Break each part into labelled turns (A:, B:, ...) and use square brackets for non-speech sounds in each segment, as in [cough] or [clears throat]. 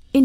A: verscheen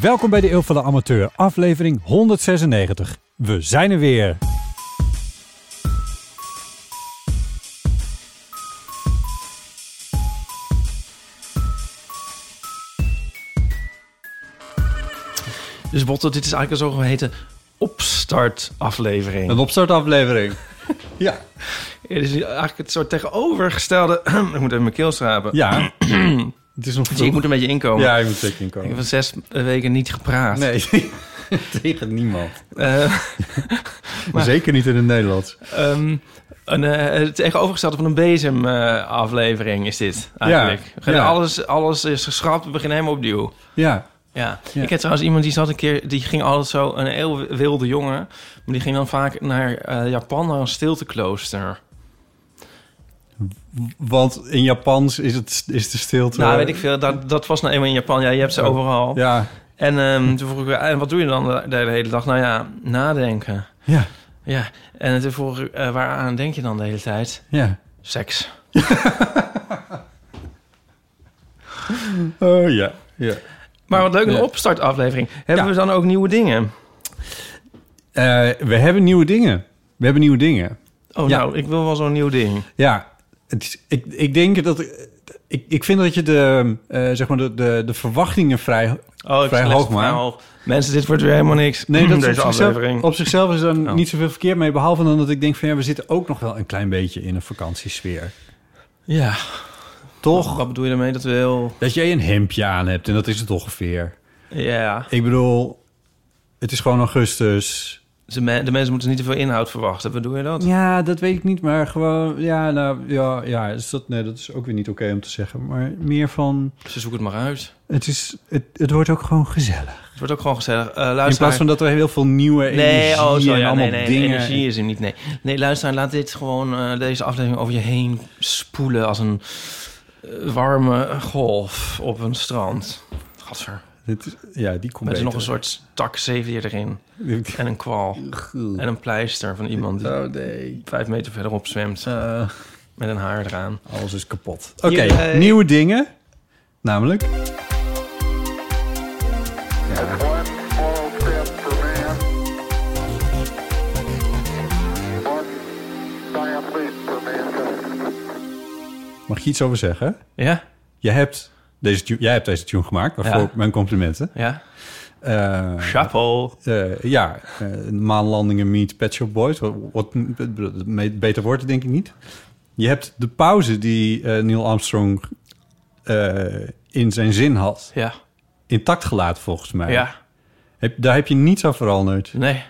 B: Welkom bij de Eeuw van de Amateur, aflevering 196. We zijn er weer.
C: Dus Botte, dit is eigenlijk een zogeheten opstartaflevering.
D: Een opstartaflevering. ja.
C: Het is eigenlijk het soort tegenovergestelde... [clears throat] ik moet even mijn keel schrapen.
D: Ja. het is nog
C: Dus ik moet een beetje inkomen.
D: Ja, je moet zeker
C: Ik heb
D: inkomen.
C: van zes weken niet gepraat.
D: Nee, [laughs] tegen niemand.
C: Eh,
D: zeker niet in het Nederlands.
C: ehm, een, eh, het tegenovergestelde van een bezemaflevering eh, is dit eigenlijk.
D: Ja,
C: We gaan
D: ja.
C: Alles, alles is geschrapt, we beginnen helemaal opnieuw.
D: Ja.
C: Ja.
D: Ja.
C: ik heb trouwens iemand die zat een keer, die ging altijd zo, een heel wilde jongen, maar die ging dan vaak naar eh, Japan, naar een stilteklooster.
D: Want in Japans is, het, is de stilte...
C: Nou, weet ik veel, dat, dat was nou eenmaal in Japan, ja, je hebt ze
D: Oh.
C: overal.
D: eh, Ja.
C: En ehm, toen vroeg ik, en wat doe je dan de, de hele dag? Nou ja, nadenken.
D: Ja.
C: Ja, en toen vroeg ik, eh, waaraan denk je dan de hele tijd?
D: Ja.
C: Seks.
D: Oh ja. Ja.
C: Maar wat leuk, een
D: Ja.
C: opstartaflevering. Hebben
D: Ja.
C: we dan ook nieuwe dingen?
D: Eh, we hebben nieuwe dingen. We hebben nieuwe dingen.
C: Oh,
D: Ja.
C: nou, ik wil wel zo'n nieuw ding.
D: Ja, het is, ik, ik denk dat... Ik, ik vind dat je de, eh, zeg maar de, de, de verwachtingen vrij...
C: Oh, ik
D: Vrij
C: leg
D: hoog,
C: het
D: maar.
C: vrij hoog. Mensen, dit wordt weer helemaal niks. [laughs]
D: Nee, dat is
C: deze
D: op zichzelf,
C: aflevering.
D: op zichzelf is dan
C: Oh.
D: niet zoveel verkeerd mee. Behalve dan dat ik denk van ja, we zitten ook nog wel een klein beetje in een vakantiesfeer.
C: Ja,
D: Toch?
C: wat bedoel je daarmee? Dat we heel...
D: Dat jij een hemdje aan hebt en dat is het ongeveer.
C: Ja,
D: Ik bedoel, het is gewoon augustus.
C: de, me- de mensen moeten niet te veel inhoud verwachten. Wat doe je dat?
D: Ja, dat weet ik niet, maar gewoon, ja, nou, ja, ja is dat, nee, dat is ook weer niet oké om te zeggen. Maar meer van,
C: Ze zoeken het maar uit.
D: het, is, het, het wordt ook gewoon gezellig.
C: Het wordt ook gewoon gezellig. Eh luister
D: In plaats van dat er heel veel nieuwe energie
C: Nee, oh, zo,
D: en
C: ja,
D: allemaal
C: nee, nee,
D: dingen...
C: energie is hem niet. Nee, nee luister, laat dit gewoon, eh, deze aflevering over je heen spoelen als een eh, warme golf op een strand. Gadver.
D: Het is- ja, die komt
C: Met
D: beter.
C: nog een soort tak zeewier erin.
D: [laughs]
C: En een kwal. En een pleister van iemand die
D: Oh, nee.
C: vijf meter verderop zwemt.
D: Eh,
C: Met een haar eraan.
D: Alles is kapot. Oké,
C: Jee.
D: nieuwe dingen. Namelijk.
E: One small step for man, one giant leap for mankind.
D: Mag je iets over zeggen?
C: Ja?
D: Jij hebt deze tune, jij hebt deze tune gemaakt. Waarvoor
C: Ja.
D: mijn complimenten.
C: Ja?
D: Eh,
C: Chapeau.
D: eh, ja, eh, maanlandingen meet Pet Shop Boys. Wat, wat- me- beter wordt, denk ik niet. Je hebt de pauze die eh, Neil Armstrong eh, in zijn zin had.
C: Ja.
D: Intact gelaten, volgens mij.
C: Ja.
D: Heb, daar heb je niets aan veranderd.
C: Nee.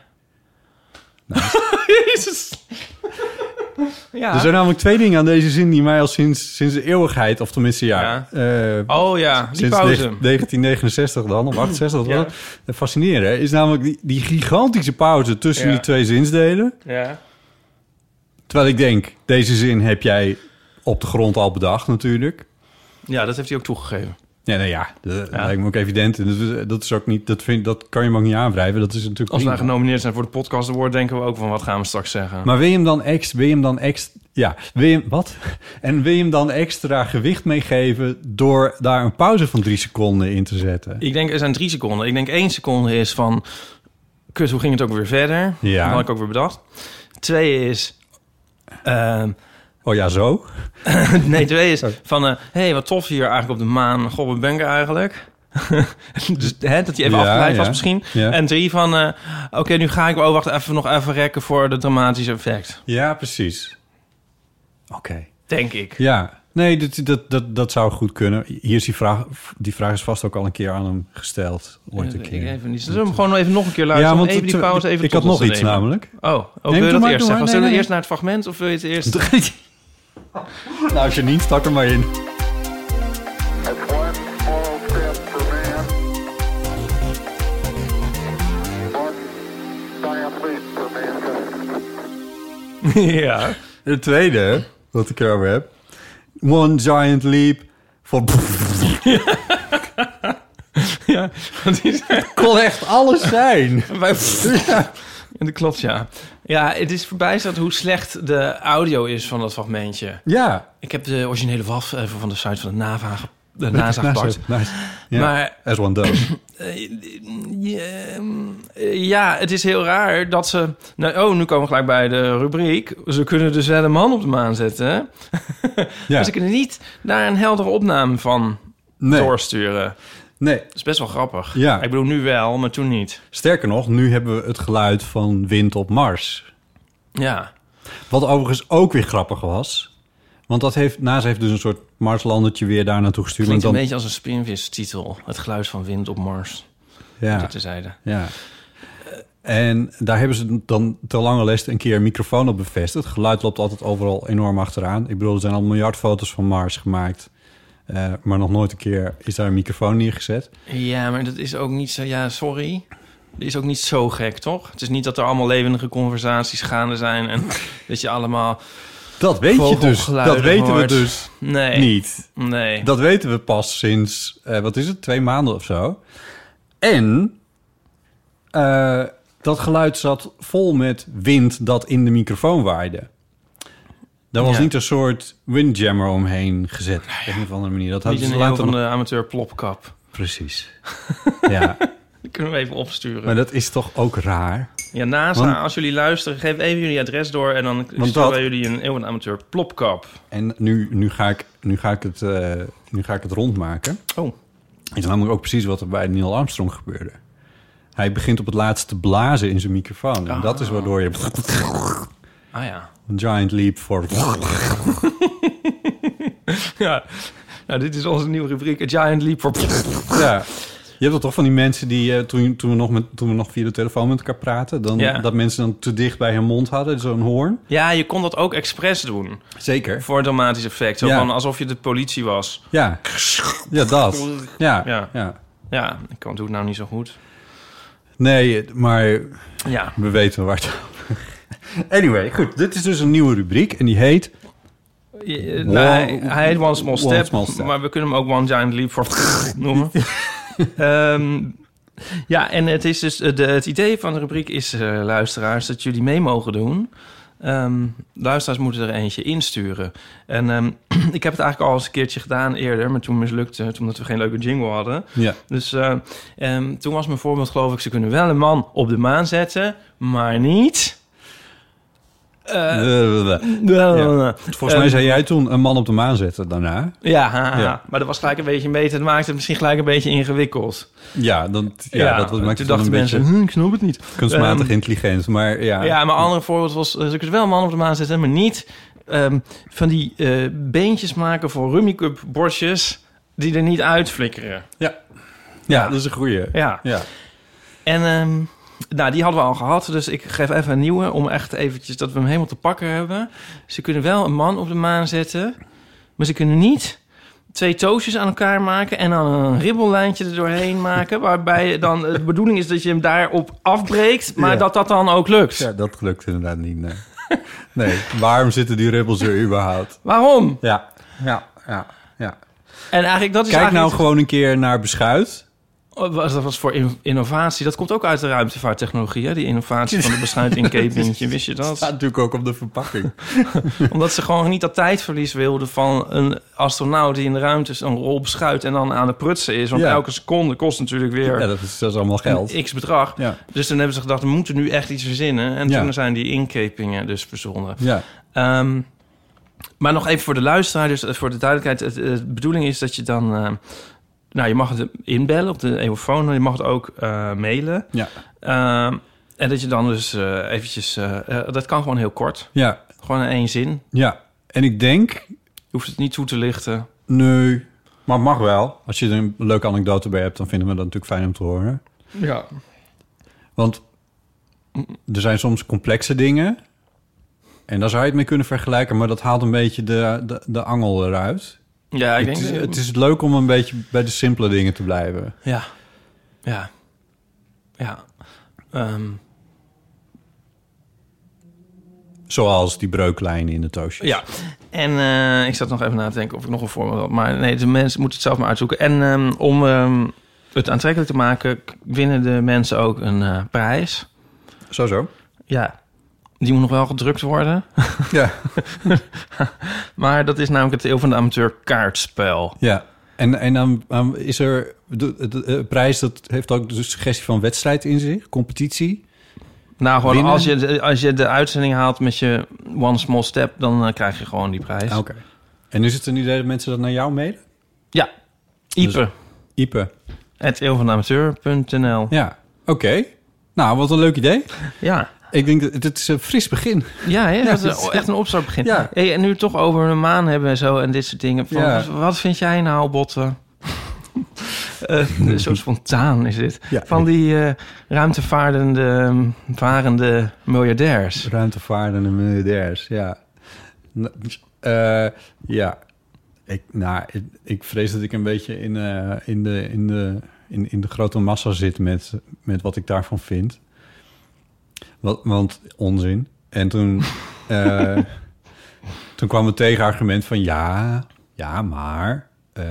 D: Nou.
C: [laughs] Jezus.
D: Er
C: Ja.
D: zijn namelijk twee dingen aan deze zin die mij al sinds, sinds de eeuwigheid, of tenminste ja, eh,
C: Oh ja, die
D: sinds
C: pauze.
D: negen- 1969 dan,
C: [clears throat]
D: of 68 dan, fascinerend hè, is namelijk die, die gigantische pauze tussen
C: Ja.
D: die twee zinsdelen.
C: Ja.
D: Terwijl ik denk, deze zin heb jij op de grond al bedacht natuurlijk.
C: ja, dat heeft hij ook toegegeven.
D: Ja, nou ja, dat
C: Ja.
D: lijkt me ook evident. En dat, is- dat is ook niet, dat, vind, dat kan je me ook niet aanwrijven. Dat is natuurlijk
C: Als wij
D: prima.
C: genomineerd zijn voor de podcast award, denken we ook van wat gaan we straks zeggen.
D: Maar wil je hem dan extra, wil je hem dan extra, ja, wil je hem- wat? [laughs] En wil je hem dan extra gewicht meegeven door daar een pauze van drie seconden in te zetten?
C: ik denk, er zijn drie seconden. Ik denk één seconde is van, kut, hoe ging het ook weer verder?
D: Ja.
C: Dat had ik ook weer bedacht. Twee is... ehm, [laughs]
D: Oh ja, zo?
C: nee, twee is van... eh hey, wat tof hier eigenlijk op de maan. Goh, wat ben ik er eigenlijk? [laughs] dus, hè, dat hij even
D: Ja,
C: afgeleid was
D: ja.
C: misschien.
D: Ja.
C: En drie van... eh, Oké, nu ga ik... Oh, wacht even nog even rekken voor de dramatische effect.
D: Ja, precies. Oké.
C: Denk ik.
D: Ja, nee, dat, dat, dat, dat zou goed kunnen. Hier is die vraag, die vraag is vast ook al een keer aan hem gesteld. Ooit een
C: Ik
D: keer.
C: Eh, even niet. Zullen we hem gewoon even nog een keer luisteren?
D: ja,
C: Ja,
D: want
C: even die
D: het-
C: pauze
D: ik-
C: even
D: ik
C: tot
D: had nog
C: ons te
D: iets
C: nemen.
D: namelijk.
C: Oh, ook
D: doe
C: wil je
D: maar, doe
C: dat eerst
D: maar.
C: zeggen?
D: Nee,
C: Zullen we
D: nee,
C: eerst naar het fragment of wil je het
D: [laughs]
C: eerst...
D: Nou, Janine, stak er maar in.
E: That's one small step for man, one giant leap for mankind.
C: [laughs] ja.
D: De tweede, wat ik erover heb. One giant leap for... [laughs]
C: ja. Dat is...
D: kon echt alles
C: [laughs]
D: zijn.
C: Wij- Ja, Dat klopt, ja. Ja, het is verbijsterend hoe slecht de audio is van dat fragmentje.
D: Ja.
C: Ik heb de originele WAF even van de site van de NAVA ge- de NASA gepakt.
D: Nice. Ja.
C: Maar
D: As one does.
C: eh, eh, eh, ja, het is heel raar dat ze... Nou, oh, nu komen we gelijk bij de rubriek. Ze kunnen dus wel een man op de maan zetten.
D: [laughs] Ja.
C: Maar ze kunnen niet daar een heldere opname van
D: Nee,
C: doorsturen. Dat
D: nee.
C: is best wel grappig.
D: Ja.
C: Ik bedoel, nu wel, maar toen niet.
D: Sterker nog, nu hebben we het geluid van wind op Mars.
C: Ja.
D: Wat overigens ook weer grappig was. Want dat heeft, NASA heeft dus een soort Marslandertje weer daar naartoe gestuurd.
C: Klinkt
D: en
C: een
D: dan-
C: beetje als een spinvis-titel. Het geluid van wind op Mars.
D: ja,
C: Dat terzijde.
D: ja. En daar hebben ze dan ter lange lest een keer een microfoon op bevestigd. Het geluid loopt altijd overal enorm achteraan. Ik bedoel, er zijn al miljard foto's van Mars gemaakt. eh, maar nog nooit een keer is daar een microfoon neergezet.
C: Ja, maar dat is ook niet zo... Ja, sorry. Dat is ook niet zo gek, toch? Het is niet dat er allemaal levendige conversaties gaande zijn... en [laughs] dat je allemaal...
D: Dat weet je dus.
C: Vogelgeluiden
D: Dat weten we
C: hoort.
D: dus
C: Nee.
D: niet.
C: Nee.
D: Dat weten we pas sinds, eh, wat is het, twee maanden of zo. En eh, dat geluid zat vol met wind dat in de microfoon waaide. Daar was
C: Ja. Nou
D: niet een soort windjammer omheen gezet. Op een of andere manier. Dat hadden
C: niet
D: ze
C: een heel
D: later
C: van
D: nog...
C: de amateur plopkap.
D: Precies. ja,
C: Dat kunnen we even opsturen.
D: maar dat is toch ook raar?
C: Ja, NASA,
D: Want-
C: als jullie luisteren, geef even jullie adres door... en dan sturen
D: dat-
C: wij jullie een eeuwen amateur plopkap.
D: En nu, nu, ga, ik, nu, ga, ik het, eh, nu ga ik het rondmaken.
C: Oh.
D: Is namelijk ook precies wat er bij Neil Armstrong gebeurde. Hij begint op het laatst te blazen in zijn microfoon. En dat is waardoor je... [laughs]
C: Ah ja.
D: Een giant leap voor...
C: ja. Nou, dit is onze nieuwe rubriek. A Giant Leap for...
D: [laughs] Ja. Je hebt dat toch van die mensen die eh, toen, toen, we nog met, toen we nog via de telefoon met elkaar praten... Dan,
C: Ja.
D: dat mensen dan te dicht bij hun mond hadden, zo'n hoorn.
C: Ja, je kon dat ook expres doen.
D: Zeker.
C: Voor dramatisch effect. Zo
D: Ja.
C: van alsof je de politie was.
D: Ja. Ja, dat. Ja.
C: Ja.
D: ja.
C: Ja, ik kan- doe het nou niet zo goed.
D: Nee, maar
C: Ja.
D: we weten waar het over- Anyway, goed. Dit is dus een nieuwe rubriek en die heet...
C: Je- nou, hij, hij heet One Small
D: One
C: Step,
D: Small Step.
C: maar we kunnen hem ook One Giant Leap voor [laughs] noemen. Ehm, ja, en het, is dus, eh, de, het idee van de rubriek is, eh, luisteraars, dat jullie mee mogen doen. Ehm, luisteraars moeten er eentje insturen. En ehm, [clears throat] ik heb het eigenlijk al eens een keertje gedaan eerder, maar toen mislukte het omdat we geen leuke jingle hadden.
D: Ja.
C: Dus eh, ehm, toen was mijn voorbeeld, geloof ik, ze kunnen wel een man op de maan zetten, maar niet. eh,
D: Ja. Volgens mij
C: Ehm,
D: zei jij toen een man op de maan zetten daarna.
C: Ja, haha.
D: Ja.
C: maar dat was gelijk een beetje beter. Het maakte het misschien gelijk een beetje ingewikkeld.
D: Ja, dan, ja, dat was, maakt
C: toen
D: het dan
C: dachten
D: een
C: mensen,
D: beetje
C: hm, ik snap het niet. [laughs]
D: kunstmatig
C: Ehm,
D: intelligent. Maar ja,
C: Ja, maar een ander voorbeeld was, eh, ze kunnen wel een man op de maan zetten, maar niet ehm, van die eh, beentjes maken voor rummikub bordjes die er niet uitflikkeren.
D: ja,
C: ja.
D: dat is een goeie.
C: Ja,
D: Ja.
C: en ehm, nou, die hadden we al gehad, dus ik geef even een nieuwe om echt eventjes dat we hem helemaal te pakken hebben. Ze kunnen wel een man op de maan zetten, maar ze kunnen niet twee toosjes aan elkaar maken en dan een ribbellijntje er
D: [laughs]
C: doorheen maken, waarbij dan de bedoeling is dat je hem daarop afbreekt, maar
D: Ja.
C: dat dat dan ook lukt.
D: Ja, dat lukt inderdaad niet. Nee. [laughs] nee, waarom zitten die ribbels er überhaupt?
C: Waarom?
D: Ja, ja, ja. ja.
C: En eigenlijk dat is
D: Kijk nou
C: eigenlijk Oh,
D: gewoon een keer naar Beschuit.
C: was, dat was voor in- innovatie. Dat komt ook uit de ruimtevaarttechnologie, hè? die innovatie
D: [laughs]
C: van de beschuit in kepinkje. Wist je
D: staat
C: dat?
D: natuurlijk ook op de verpakking.
C: Omdat ze gewoon niet dat tijdverlies wilden van een astronaut die in de ruimte is, een rol beschuit en dan aan het prutsen is. Want
D: Ja.
C: elke seconde kost natuurlijk
D: [laughs]
C: weer
D: Ja, dat is, dat is allemaal geld.
C: een x bedrag.
D: Ja.
C: Dus toen hebben ze gedacht, we moeten nu echt iets verzinnen. En
D: Ja.
C: toen zijn die inkepingen dus verzonnen.
D: Ja.
C: Ehm, maar nog even voor de luisteraar, dus eh, voor de duidelijkheid. het- eh, De bedoeling is dat je dan... eh, nou, je mag het inbellen op de eeuwofoon. Je mag het ook eh, mailen.
D: Ja.
C: Ehm, en dat je dan dus eh, eventjes... eh, eh, dat kan gewoon heel kort.
D: ja,
C: Gewoon in één zin.
D: ja. En ik denk,
C: Je hoeft het niet toe te lichten.
D: nee, maar het mag wel. Als je er een leuke anekdote bij hebt, dan vinden we dat natuurlijk fijn om te horen.
C: Ja.
D: Want er zijn soms complexe dingen. En daar zou je het mee kunnen vergelijken, maar dat haalt een beetje de, de, de angel eruit.
C: Ja, ik denk...
D: het, is, het is leuk om een beetje bij de simpele dingen te blijven.
C: Ja. Ja. Ja. Ehm,
D: Zoals die breuklijn in de toosjes.
C: Ja, en eh, ik zat nog even na te denken of ik nog een voorbeeld had. Maar nee, de mensen moeten het zelf maar uitzoeken. En ehm, om ehm, het aantrekkelijk te maken, k- winnen de mensen ook een eh, prijs.
D: Zo, zo.
C: Ja, die moet nog wel gedrukt worden. [laughs]
D: Ja.
C: Maar dat is namelijk het Eeuw van de Amateur kaartspel.
D: ja. En, en dan, dan is er de, de- de prijs, dat heeft ook de suggestie van wedstrijd in zich, competitie.
C: Nou, gewoon
D: Winnen?
C: als je, de- als je de uitzending haalt met je One Small Step, dan eh, krijg je gewoon die prijs.
D: Ah, Oké. En is het een idee dat mensen dat naar jou mailen?
C: Ja,
D: Dus-
C: Ipe,
D: Ipe.
C: het Eeuw van de Amateur.nl.
D: Ja. Oké. Nou, wat een leuk idee.
C: ja.
D: Ik denk, dat het is een fris begin.
C: Ja, hè? dat
D: dat
C: is
D: is-
C: echt een opstart begint.
D: Ja.
C: Hey, en nu we het toch over een maan hebben en zo en dit soort dingen. Van,
D: Ja.
C: wat, wat vind jij nou,
D: [laughs]
C: Botten? Eh, zo spontaan is dit.
D: Ja.
C: Van die eh, ruimtevaardende ehm, varende miljardairs.
D: Ruimtevaarden en miljardairs, ja. Nou, eh, ja. Ik, nou, ik, ik vrees dat ik een beetje in, eh, in, de, in, de, in, in de grote massa zit met, met wat ik daarvan vind. Wat, want onzin. En toen, eh, toen kwam het tegenargument van ja, ja, maar... eh,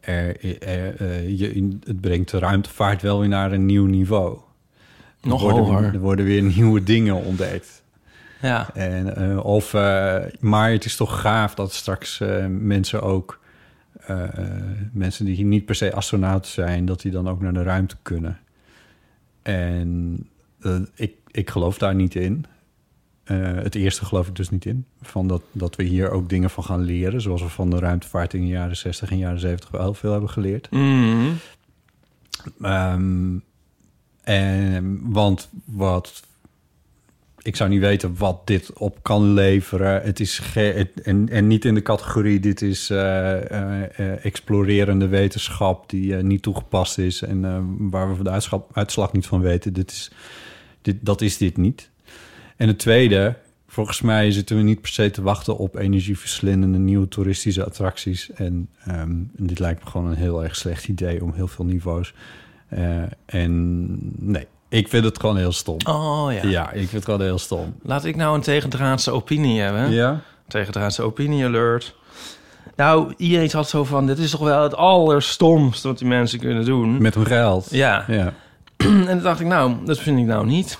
D: er, er- eh, je, het brengt de ruimtevaart wel weer naar een nieuw niveau.
C: Nog
D: Er worden,
C: hoger.
D: Er worden weer [laughs] nieuwe dingen ontdekt.
C: Ja.
D: En, eh, of, eh, maar het is toch gaaf dat straks eh, mensen ook... eh, eh, mensen die niet per se astronauten zijn... dat die dan ook naar de ruimte kunnen. En eh, ik, ik geloof daar niet in. Eh, het eerste geloof ik dus niet in. Van dat, dat we hier ook dingen van gaan leren... zoals we van de ruimtevaart in de jaren 60 en jaren 70 wel veel hebben geleerd.
C: Mm.
D: Ehm, en, want wat. Ik zou niet weten wat dit op kan leveren. Het is ge- het- en, en niet in de categorie. Dit is eh, eh, eh, explorerende wetenschap die eh, niet toegepast is en eh, waar we van de uitschap- uitslag niet van weten. Dit is, dit, dat is dit niet. En het tweede, volgens mij zitten we niet per se te wachten op energieverslindende nieuwe toeristische attracties. En ehm, dit lijkt me gewoon een heel erg slecht idee om heel veel niveaus. Eh, en nee, ik vind het gewoon heel stom.
C: Oh ja.
D: ja. ik vind het gewoon heel stom.
C: Laat ik nou een tegendraadse opinie hebben.
D: Ja?
C: Tegendraadse opinie alert. Nou, iedereen had zo van, dit is toch wel het allerstomste wat die mensen kunnen doen.
D: Met hun geld.
C: Ja.
D: ja.
C: [clears throat] En toen dacht ik, nou, dat vind ik nou niet.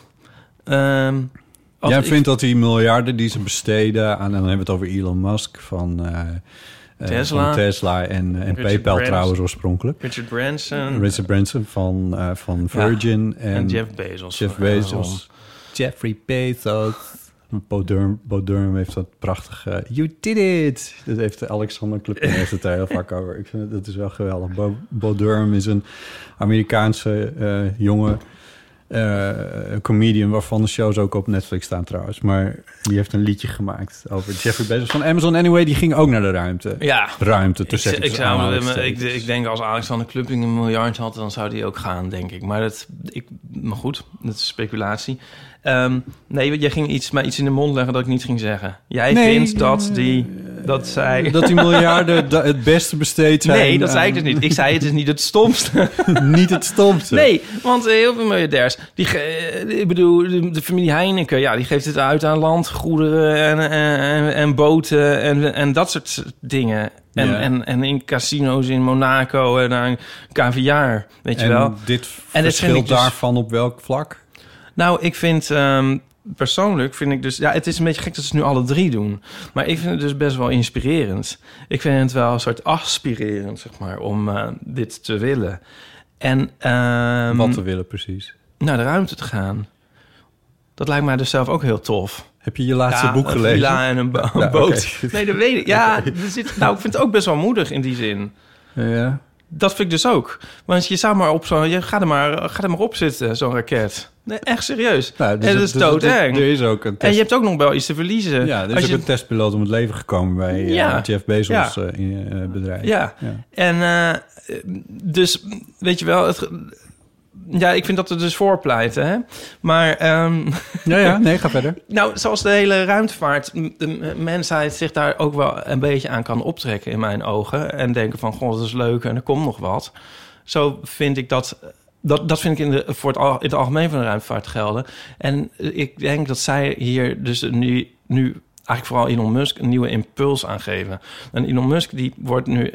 C: Ehm, als
D: Jij
C: ik-
D: vindt dat die miljarden die ze besteden aan, en dan hebben we het over Elon Musk van, eh, eh,
C: Tesla.
D: van Tesla en, en
C: Richard
D: PayPal
C: Branson.
D: trouwens oorspronkelijk.
C: Richard Branson
D: Richard Branson van, eh, van Virgin en,
C: Mm. en, Jeff Bezos.
D: Jeff Bezos. Jeffrey Bezos. Bo Durham, Bo Durham heeft dat prachtige... You did it! Dat heeft Alexander Klupping heeft het daar heel vaak over. Ik vind het, dat is wel geweldig. Bo, Bo Durham is een Amerikaanse eh, jonge eh, comedian... waarvan de shows ook op Netflix staan trouwens. Maar die heeft een liedje gemaakt over Jeffrey Bezos van Amazon. Anyway, die ging ook naar de ruimte.
C: Ja.
D: Ruimte, te
C: Ik,
D: zeggen.
C: ik, zou, eh, ik, ik denk als Alexander Klupping een miljard had, dan zou die ook gaan, denk ik. Maar, dat, ik, maar goed, dat is speculatie. Ehm, nee, want jij ging iets, mij iets in de mond leggen dat ik niet ging zeggen. Jij
D: Nee,
C: vindt dat
D: eh,
C: die...
D: eh,
C: dat zij...
D: Dat die miljarden da- het beste besteed zijn. eh,
C: nee, dat zei ik
D: aan-
C: dus niet. Ik zei het is niet het stomste.
D: niet het stomste.
C: Nee, want eh, heel veel miljardairs. Die ge- eh, ik bedoel, de, de familie Heineken, ja, die geeft het uit aan landgoederen en, en, en, en boten en, en dat soort dingen. En,
D: Ja.
C: en, en in casino's in Monaco en aan caviar, weet je
D: en
C: wel.
D: dit
C: vind
D: verschilt
C: ik dus-
D: daarvan op welk vlak?
C: Nou, ik vind ehm, persoonlijk vind ik dus, ja, het is een beetje gek dat ze het nu alle drie doen, maar ik vind het dus best wel inspirerend. Ik vind het wel een soort aspirerend, zeg maar, om eh, dit te willen. En ehm,
D: Wat te willen precies.
C: naar de ruimte te gaan. Dat lijkt mij dus zelf ook heel tof.
D: Heb je je laatste boek
C: een
D: gelezen?
C: villa en een, bo-
D: Ja, [laughs]
C: boot.
D: oké.
C: Nee, dat weet ik. Ja, er zit, nou, ik vind het ook best wel moedig in die zin.
D: Ja.
C: Dat vind ik dus ook. Want je zou maar op zo'n... Je gaat er maar, ga er maar op zitten, zo'n raket. Nee, echt serieus.
D: Nou, dus
C: en dat is doodeng.
D: Er er is ook een
C: en je
D: test.
C: hebt ook nog wel iets te verliezen.
D: ja, dus er is
C: Als
D: ook
C: je-
D: een testpiloot om het leven gekomen bij eh,
C: Ja.
D: Jeff Bezos
C: Ja.
D: eh, in, eh, bedrijf.
C: Ja.
D: Ja.
C: En eh, dus, weet je wel... Het, ja, ik vind dat er dus voor pleiten, hè. Maar... ehm,
D: ja, ja, nee, ga verder.
C: Nou, zoals de hele ruimtevaart, m- de m- mensheid zich daar ook wel een beetje aan kan optrekken in mijn ogen. En denken van, goh, dat is leuk en er komt nog wat. Zo vind ik dat, dat, dat vind ik in, de, voor het, al- in het algemeen van de ruimtevaart gelden. En eh, ik denk dat zij hier dus nu, nu eigenlijk vooral Elon Musk een nieuwe impuls aan geven. En Elon Musk die wordt nu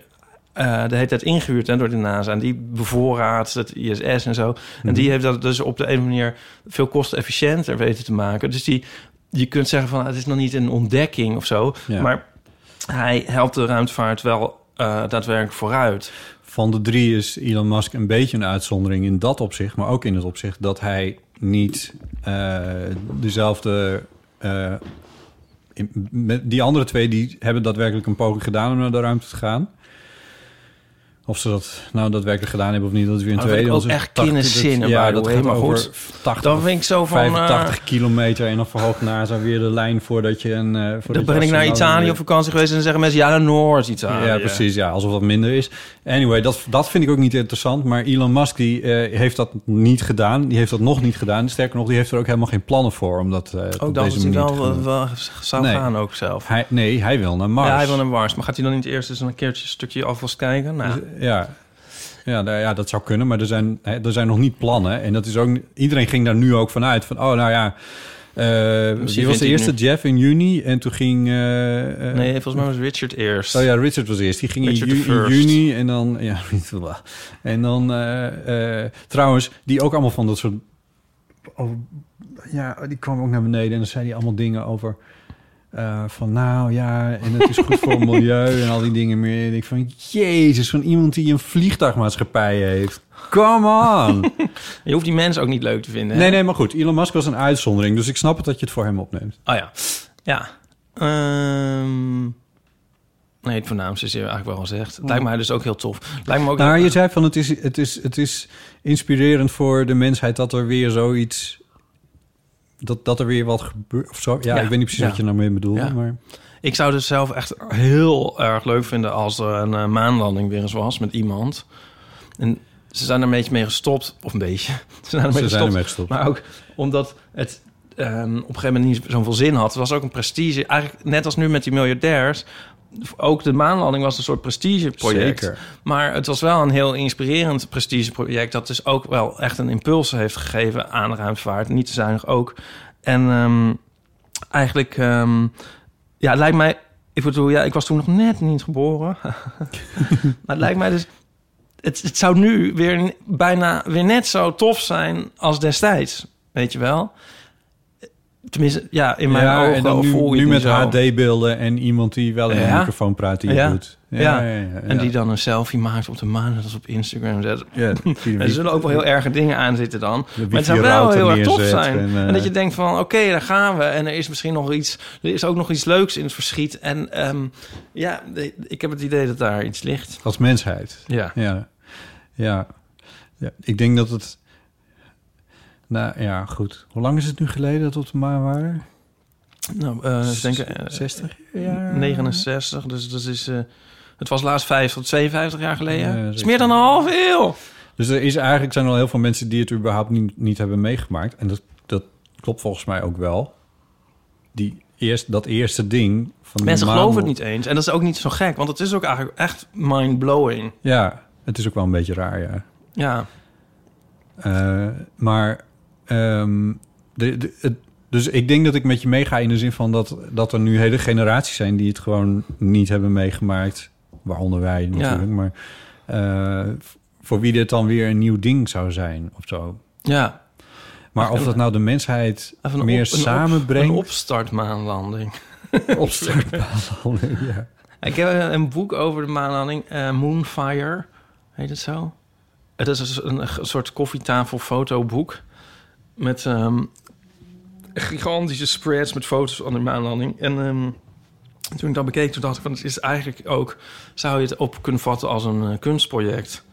C: eh, de hele tijd ingehuurd hè, door de NASA. En die bevoorraadt het ISS en zo. En die heeft dat dus op de een manier veel kostenefficiënter weten te maken. Dus die, je kunt zeggen van ah, het is nog niet een ontdekking of zo.
D: Ja.
C: Maar hij helpt de ruimtevaart wel eh, daadwerkelijk vooruit.
D: Van de drie is Elon Musk een beetje een uitzondering in dat opzicht, maar ook in het opzicht dat hij niet eh, dezelfde. eh, in- met die andere twee die hebben daadwerkelijk een poging gedaan om naar de ruimte te gaan. Of ze dat nou daadwerkelijk gedaan hebben of niet, dat is weer een
C: Maar dat
D: tweede.
C: vind ik ook
D: Dat is
C: echt
D: 80
C: kinderzinnen,
D: dat-
C: by
D: Ja,
C: the
D: dat
C: way,
D: gaat
C: maar
D: over
C: goed.
D: 80,
C: Dan vind ik zo van, eh,
D: 85 kilometer en dan verhoogt NASA weer de lijn voordat je een. eh,
C: Dan
D: voordat je
C: ben ik naar
D: astronaut
C: Italië
D: weer-
C: op vakantie geweest en dan zeggen mensen ja naar Noord-Italië.
D: ja, precies. Ja, alsof dat minder is. Anyway, dat, dat vind ik ook niet interessant. Maar Elon Musk die, eh, heeft dat niet gedaan. Die heeft dat nog niet gedaan. Sterker nog, die heeft er ook helemaal geen plannen voor. Om dat, eh, op
C: Ook dat
D: deze
C: is hij
D: manier te gaan
C: wel,
D: doen.
C: wel zou
D: Nee.
C: gaan ook zelf.
D: Hij, nee, hij wil naar Mars.
C: Ja, hij wil naar Mars. Maar gaat hij dan niet eerst eens een keertje een stukje alvast kijken? Nou,
D: Ja. Ja, daar- ja, dat zou kunnen, maar er zijn, hè, er zijn nog niet plannen. En dat is ook, iedereen ging daar nu ook vanuit van, oh nou ja, eh
C: vindt
D: die was de
C: hij
D: eerste,
C: nu-
D: Jeff, in juni. En toen ging... eh, eh,
C: nee, volgens mij was Richard eerst.
D: Oh ja, Richard was eerst. Die ging in,
C: Richard
D: ju-
C: the
D: in
C: First.
D: juni en dan... Ja, [laughs] en dan... eh, eh, trouwens, die ook allemaal van dat soort... oh, ja, die kwam ook naar beneden en dan zei hij allemaal dingen over... eh, van nou ja, en het is goed
C: [laughs]
D: voor het milieu en al die dingen meer. En ik van, jezus, van iemand die een vliegtuigmaatschappij heeft. Come
C: [laughs]
D: on!
C: Je hoeft die mensen ook niet leuk te vinden. hè?
D: nee, nee, maar goed. Elon Musk was een uitzondering. Dus ik snap het dat je het voor hem opneemt.
C: Oh ja. Ja. Ehm, nee, het voornaamste is hier eigenlijk wel gezegd. Het Lijkt mij dus ook heel tof. Lijkt me ook
D: Nou, je zei van het is, het, is, het is inspirerend voor de mensheid dat er weer zoiets. Dat, dat er weer wat gebeurt. Of zo. Ja,
C: Ja.
D: ik weet niet precies
C: Ja.
D: wat je nou mee bedoelde.
C: Ja.
D: Maar
C: Ik zou het zelf echt heel erg leuk vinden als er een eh, maanlanding weer eens was met iemand. En ze zijn er een beetje mee gestopt. Of een beetje. [laughs] Ze zijn er een
D: ze
C: beetje
D: zijn
C: gestopt.
D: ermee gestopt.
C: Maar ook omdat het ehm, op een gegeven moment niet zoveel zin had. Het was ook een prestige. Eigenlijk net als nu met die miljardairs. Ook de maanlanding was een soort prestigeproject.
D: Zeker.
C: Maar het was wel een heel inspirerend prestigeproject... dat dus ook wel echt een impuls heeft gegeven aan de ruimtevaart. Niet te zuinig ook. En ehm, eigenlijk... ehm, ja, het lijkt mij... Ik bedoel, ja, ik was toen nog net niet geboren. [laughs] maar het lijkt mij dus... Het, het zou nu weer n- bijna weer net zo tof zijn als destijds. Weet je wel? Tenminste, ja, in mijn
D: ja,
C: ogen
D: en dan
C: voel
D: nu,
C: je
D: nu
C: het
D: met
C: zo.
D: HD-beelden en iemand die wel in een
C: Ja.
D: microfoon praat die het
C: Ja.
D: doet.
C: Ja.
D: ja.
C: En die dan een selfie maakt op de maan en dat is op Instagram zet. [laughs]
D: Ja, die-
C: En er zullen ook wel heel erge dingen aan zitten dan. Maar het zou wel
D: wifi-router
C: heel erg tof
D: neerzet
C: zijn. En,
D: en, eh,
C: dat je denkt van, oké, daar gaan we. En er is misschien nog iets, er is ook nog iets leuks in het verschiet. En ehm, ja, ik heb het idee dat daar iets ligt.
D: Als mensheid.
C: Ja.
D: Ja. ja. Ja. Ik denk dat het. Nou ja, goed. Hoe lang is het nu geleden dat we op de maan waren?
C: Nou, eh ik denk eh,
D: 60 jaar?
C: 69, dus dat is... eh, het was laatst 5 tot 52 jaar geleden.
D: Ja,
C: dat is
D: zeker.
C: meer dan een half eeuw.
D: Dus er is eigenlijk zijn er al heel veel mensen die het überhaupt niet, niet hebben meegemaakt. En dat, dat klopt volgens mij ook wel. Die eerst, dat eerste ding van
C: Mensen
D: die
C: geloven het
D: maan-
C: niet eens. En dat is ook niet zo gek, want het is ook eigenlijk echt mind-blowing.
D: Ja, het is ook wel een beetje raar, ja.
C: Ja.
D: Eh, maar, ehm, de, de- het- dus ik denk dat ik met je meega in de zin van dat, dat er nu hele generaties zijn die het gewoon niet hebben meegemaakt. Waaronder wij natuurlijk, maar eh, voor wie dit dan weer een nieuw ding zou zijn of zo.
C: Ja.
D: Maar of dat nou de mensheid meer
C: op-
D: samenbrengt.
C: Een opstartmaanlanding.
D: opstartbaan. ja.
C: Ik heb een, een boek over de maanlanding. eh, Moonfire, heet het zo? Het is een s- een, g- soort koffietafel-fotoboek. Met ehm, gigantische spreads met foto's van de maanlanding. En ehm, toen ik dat bekeek, toen dacht ik van... Het is eigenlijk ook... Zou je het op kunnen vatten als een eh, kunstproject?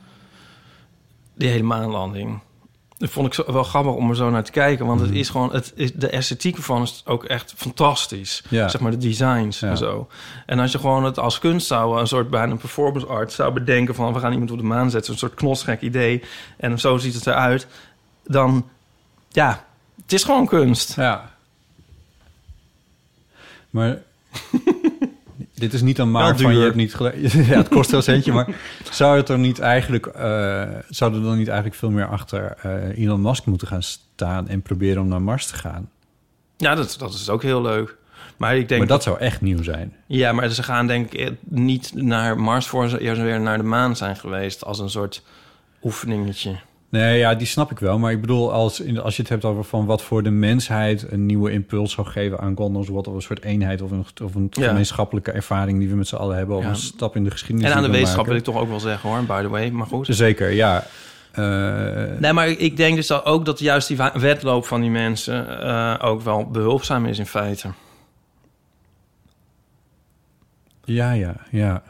C: Die hele maanlanding. Dat vond ik zo- wel grappig om er zo naar te kijken. Want
D: Mm.
C: het is gewoon... Het, is- de esthetiek van is ook echt fantastisch.
D: Ja.
C: Zeg maar de designs
D: Ja.
C: en zo. En als je gewoon het als kunst zou... Een soort bijna performance art zou bedenken van... We gaan iemand op de maan zetten. Een soort knosgek idee. En zo ziet het eruit. Dan... Ja, het is gewoon kunst.
D: Ja.
C: [laughs]
D: Maar dit is niet een maar
C: Wel
D: van je
C: Nou, duur.
D: hebt niet gelezen. [laughs] ja, het kost wel een centje, maar zou het er niet eigenlijk, eh, zou er dan niet eigenlijk veel meer achter eh, Elon Musk moeten gaan staan en proberen om naar Mars te gaan?
C: Ja, dat, dat is ook heel leuk. Maar ik denk...
D: maar dat zou echt nieuw zijn.
C: Ja, maar ze gaan denk ik eh, niet naar Mars voor ze eerst weer naar de maan zijn geweest. Als een soort oefeningetje.
D: Nee, ja, die snap ik wel. Maar ik bedoel, als, in- als je het hebt over van wat voor de mensheid een nieuwe impuls zou geven aan Gondos, wat of een soort eenheid of een, of een
C: Ja.
D: gemeenschappelijke ervaring die we met z'n allen hebben, of
C: Ja.
D: een stap in de geschiedenis.
C: En aan de
D: die we
C: wetenschap
D: maken. Dus-
C: wil ik toch ook wel zeggen hoor, by the way. Maar goed.
D: Zeker, ja. Eh,
C: Nee, maar ik denk dus dat ook dat juist die wa- wedloop van die mensen eh, ook wel behulpzaam is in feite.
D: ja, ja, ja.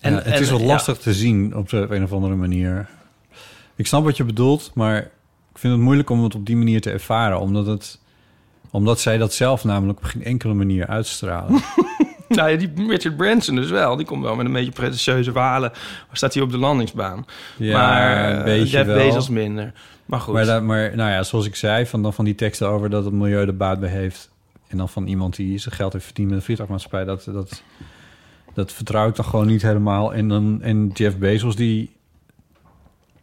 C: En-
D: Ja, het
C: en-
D: is wel
C: ja.
D: lastig te zien op, de, op een of andere manier. Ik snap wat je bedoelt, maar ik vind het moeilijk om het op die manier te ervaren. Omdat, het, omdat zij dat zelf namelijk op geen enkele manier uitstralen.
C: [laughs] Nou ja, die Richard Branson dus wel. Die komt wel met een beetje pretentieuze walen. Staat hij op de landingsbaan.
D: Ja,
C: maar
D: een
C: eh,
D: beetje
C: Jeff
D: wel.
C: Bezos minder. Maar goed.
D: maar, dat, maar nou ja, zoals ik zei, van, dan van die teksten over dat het milieu de baat bij heeft... en dan van iemand die zijn geld heeft verdiend met een vliegtuigmaatschappij... dat, dat, dat vertrouw ik dan gewoon niet helemaal. En, dan, en Jeff Bezos, die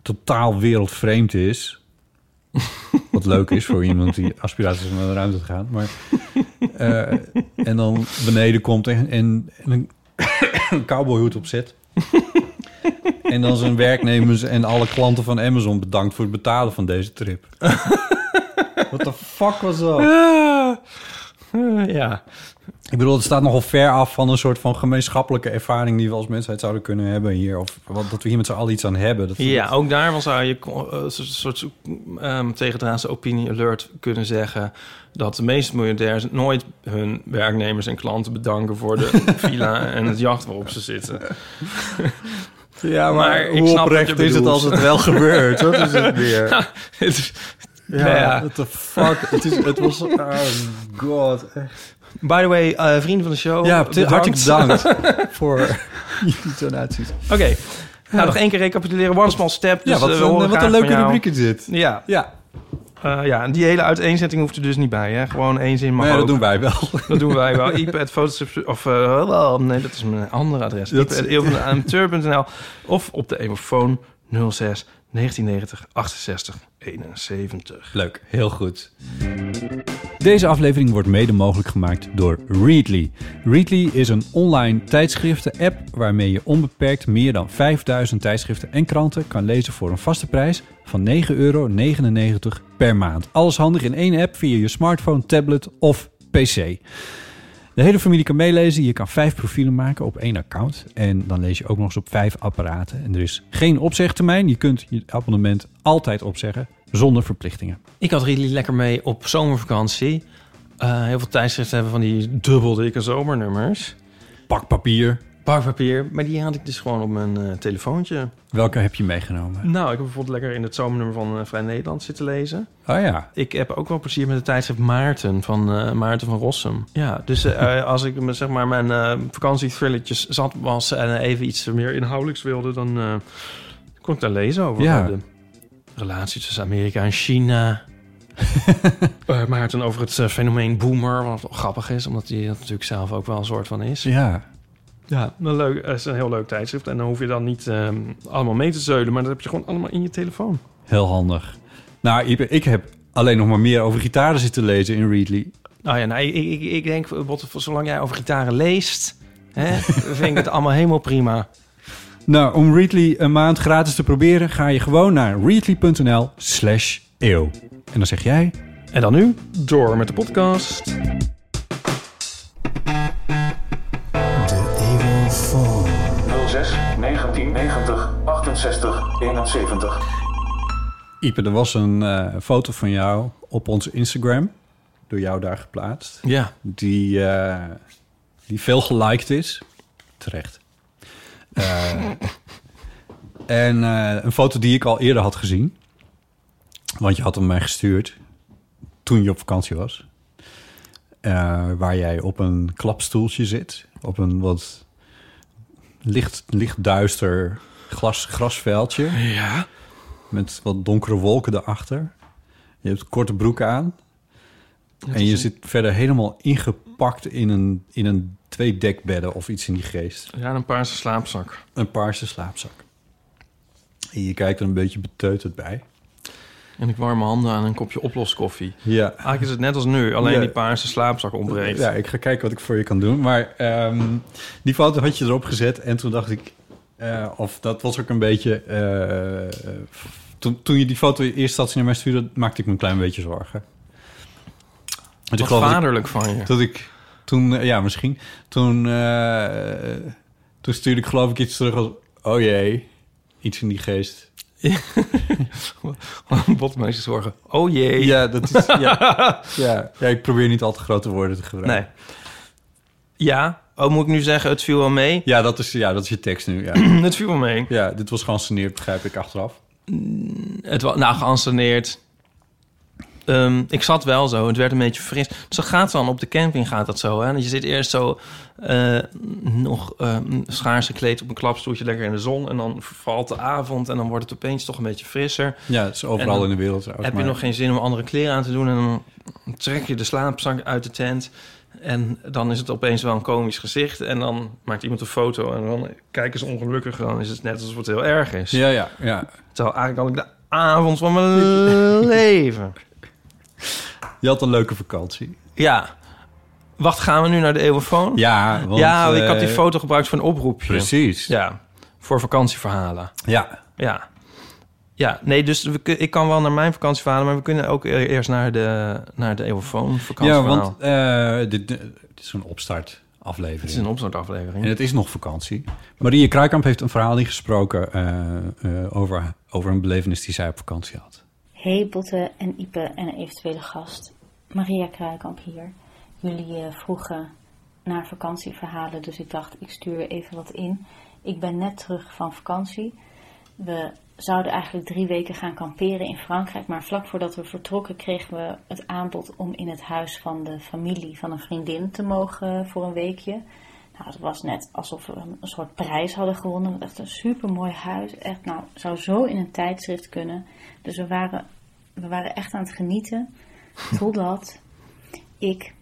D: totaal wereldvreemd is... Wat leuk is voor iemand die aspiraties heeft om naar de ruimte te gaan. Maar, eh, en dan beneden komt en, en, en een, [coughs] een cowboyhoed opzet. en dan zijn werknemers en alle klanten van Amazon bedankt voor het betalen van deze [laughs] trip. What the fuck was dat?
C: Ah, eh, ja.
D: Ik bedoel, het staat nogal ver af van een soort van gemeenschappelijke ervaring die we als mensheid zouden kunnen hebben hier. Of wat, dat we hier met z'n allen iets aan hebben. Dat,
C: Ja, ook daarvan zou je eh, een soort ehm tegendraadse opinie alert kunnen zeggen... dat de meeste miljardairs nooit hun werknemers en klanten bedanken... voor de
D: [laughs]
C: villa en het jacht waarop ze zitten.
D: ja
C: maar ik
D: hoe
C: snap wat
D: oprecht
C: je
D: is het
C: bedoelt.
D: als het wel gebeurt? Wat is het
C: [laughs]
D: weer?
C: Het is-
D: Ja,
C: Nou ja.
D: what the fuck? Het, is, het was... Oh god, echt.
C: By the way, eh, vrienden van de show,
D: Ja,
C: bedankt.
D: hartelijk bedankt [laughs] voor jullie donaties.
C: Oké, nou nog één keer recapituleren. One small step. Dus
D: ja, wat,
C: eh, we
D: een,
C: horen
D: wat
C: graag
D: een
C: van
D: leuke
C: jou.
D: rubriek is dit.
C: Ja,
D: Ja,
C: eh, ja, en die hele uiteenzetting hoeft er dus niet bij. Hè? Gewoon één zin mag
D: maar ja,
C: ook.
D: dat doen wij wel.
C: Dat doen wij [laughs] wel. iPad, Photoshop of... eh, wel, nee, dat is mijn andere adres.
D: Dat-
C: iPad.amateur.nl of op de emofoon 06 1990 68 71.
D: Leuk, heel goed. Deze aflevering wordt mede mogelijk gemaakt door Readly. Readly is een online tijdschriften-app waarmee je onbeperkt meer dan 5000 tijdschriften en kranten kan lezen voor een vaste prijs van 9,99 euro per maand. Alles handig in één app via je smartphone, tablet of PC. De hele familie kan meelezen. Je kan vijf profielen maken op één account. En dan lees je ook nog eens op vijf apparaten. En er is geen opzegtermijn. Je kunt je abonnement altijd opzeggen zonder verplichtingen.
C: Ik had Ridley lekker mee op zomervakantie. Eh, heel veel tijdschriften hebben van die dubbel dikke zomernummers.
D: Pak papier.
C: Bakpapier, maar die had ik dus gewoon op mijn eh, telefoontje.
D: Welke heb je meegenomen?
C: Nou, ik heb bijvoorbeeld lekker in het zomernummer van eh, Vrij Nederland zitten lezen.
D: Oh ja.
C: Ik heb ook wel plezier met de tijdschrift Maarten van eh, Maarten van Rossum. Ja,
D: [laughs]
C: dus eh, eh, als ik me, zeg maar mijn eh vakantiethrilletjes zat was en eh, even iets meer inhoudelijks wilde, dan eh, kon ik daar lezen over.
D: Ja. [laughs]
C: De relatie tussen Amerika en China. Eh, Maarten over het eh, fenomeen boomer, wat wel grappig is, omdat hij dat natuurlijk zelf ook wel een soort van is.
D: Ja.
C: Ja, een leuk, het is een heel leuk tijdschrift. En dan hoef je dan niet ehm, allemaal mee te zeulen, maar dat heb je gewoon allemaal in je telefoon.
D: Heel handig. Nou, Ipe, ik heb alleen nog maar meer over gitaren zitten lezen in Readly.
C: Nou ja, nou, ik, ik, ik- ik denk, eh, Botte, zolang jij over gitaren leest, hè, [laughs] vind ik het allemaal helemaal prima.
D: Nou, om Readly een maand gratis te proberen, ga je gewoon naar readly.nl slash eeuw. En dan zeg jij...
C: En dan nu, door met de podcast.
D: Ipe, er was een eh, foto van jou op onze Instagram, door jou daar geplaatst,
C: Ja,
D: die, eh, die veel geliked is. Terecht. Eh, en eh, een foto die ik al eerder had gezien, want je had hem mij gestuurd toen je op vakantie was. Eh, waar jij op een klapstoeltje zit, op een wat licht, licht duister glas, grasveldje
C: ja.
D: met wat donkere wolken erachter. Je hebt korte broek aan. en je zit verder helemaal ingepakt in een, in een twee dekbedden of iets in die geest.
C: ja en een paarse slaapzak.
D: Een paarse slaapzak. En je kijkt er een beetje beteuterd bij.
C: En ik warme handen aan een kopje oploskoffie.
D: Ja.
C: Eigenlijk is het net als nu, alleen
D: Ja.
C: die paarse slaapzak ontbreekt.
D: Ja, ik ga kijken wat ik voor je kan doen. Maar ehm, die foto had je erop gezet en toen dacht ik... eh, of dat was ook een beetje... eh, eh, toen, toen je die foto eerst had zien naar mij stuurde, maakte ik me een klein beetje zorgen. Want ik
C: Wat
D: geloof dat ik-
C: vaderlijk van je. [laughs]
D: Dat ik toen, eh, ja, misschien. Toen, eh, toen stuurde ik geloof ik iets terug als... Oh jee, iets in die geest.
C: Botmeester zorgen. Oh jee.
D: Ja, dat is... Ja,
C: [laughs]
D: ja, ja, ik probeer niet al te grote woorden te gebruiken.
C: Nee. Ja. Oh, moet ik nu zeggen, het viel wel mee?
D: Ja, dat is, ja, dat is je tekst nu. Ja,
C: [clears throat]
D: [clears throat]
C: Het viel wel mee.
D: ja dit was geanceneerd, begrijp ik achteraf.
C: Het was, nou, geanceneerd. Ehm, ik zat wel zo, het werd een beetje fris. Zo gaat dan, op de camping gaat dat zo. Hè? Dat Je zit eerst zo eh, nog eh, schaars gekleed op een klapstoeltje, lekker in de zon. En dan valt de avond en dan wordt het opeens toch een beetje frisser.
D: Ja, het is
C: En
D: overal
C: dan
D: in de wereld trouwens.
C: Heb je
D: maar-
C: nog geen zin om andere kleren aan te doen? En dan trek je de slaapzak uit de tent. En dan is het opeens wel een komisch gezicht. En dan maakt iemand een foto. En dan kijken ze ongelukkig. Dan is het net alsof het heel erg is.
D: Ja, ja, ja.
C: Terwijl eigenlijk had ik de avond van mijn leven.
D: Je had een leuke vakantie.
C: [laughs] Ja. Wacht, gaan we nu naar de eeuwenfoon?
D: Ja, want...
C: ja ik had
D: eh,
C: die foto gebruikt voor een oproepje.
D: Precies. Ja.
C: Ja, voor vakantieverhalen.
D: ja.
C: Ja. Ja, nee, dus we, kun- ik kan wel naar mijn vakantieverhalen... maar we kunnen ook e- eerst naar de, naar de Eeuwenfoon vakantieverhaal.
D: want eh, dit, dit is een opstart aflevering.
C: Het is een
D: En
C: opstartaflevering.
D: het is nog vakantie. Marie Kruikamp heeft een verhaal ingesproken eh, eh, over, over een belevenis die zij op vakantie had.
F: Hey Botte en Ipe en een eventuele gast. Maria Kruikamp hier. Jullie eh, vroegen naar vakantieverhalen, dus ik dacht ik stuur even wat in. Ik ben net terug van vakantie. We zouden eigenlijk drie weken gaan kamperen in Frankrijk, maar vlak voordat we vertrokken kregen we het aanbod om in het huis van de familie van een vriendin te mogen eh, voor een weekje. Nou, het was net alsof we een een soort prijs hadden gewonnen. Want echt een supermooi huis. Echt, nou, zou zo in een tijdschrift kunnen. Dus we waren, we waren echt aan het genieten. Totdat ik,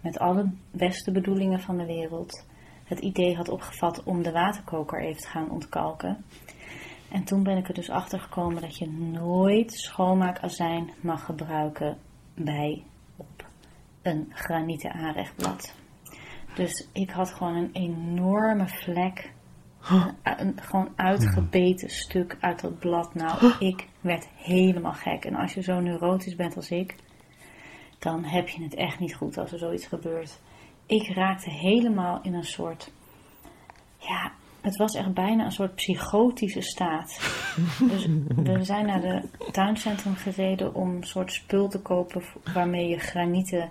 F: met alle beste bedoelingen van de wereld, het idee had opgevat om de waterkoker even te gaan ontkalken. En toen ben ik er dus achter gekomen dat je nooit schoonmaakazijn mag gebruiken bij op een granieten aanrechtblad. Dus ik had gewoon een enorme vlek. Een, Eh, een gewoon uitgebeten stuk uit dat blad. Nou, ik werd helemaal gek. En als je zo neurotisch bent als ik, dan heb je het echt niet goed als er zoiets gebeurt. Ik raakte helemaal in een soort. Ja, het was echt bijna een soort psychotische staat. Dus we zijn naar de tuincentrum gereden om een soort spul te kopen waarmee je granieten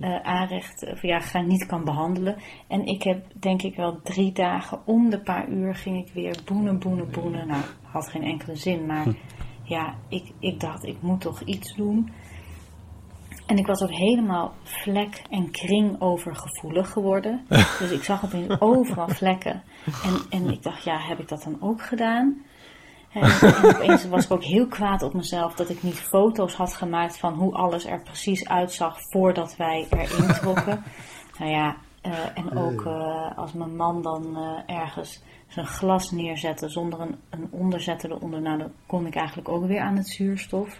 F: eh, aanrecht, of ja, graniet kan behandelen. En ik heb denk ik wel drie dagen om de paar uur ging ik weer boenen, boenen, boenen. Nou, had geen enkele zin, maar ja, ik, ik dacht ik moet toch iets doen. En ik was ook helemaal vlek- en kringovergevoelig geworden. Dus ik zag opeens overal vlekken. En, en ik dacht, ja, heb ik dat dan ook gedaan? Eh, en opeens was ik ook heel kwaad op mezelf dat ik niet foto's had gemaakt van hoe alles er precies uitzag voordat wij erin trokken. nou ja, eh, en ook eh, als mijn man dan eh, ergens zijn glas neerzette zonder een, een onderzetter eronder, nou dan kon ik eigenlijk ook weer aan het zuurstof.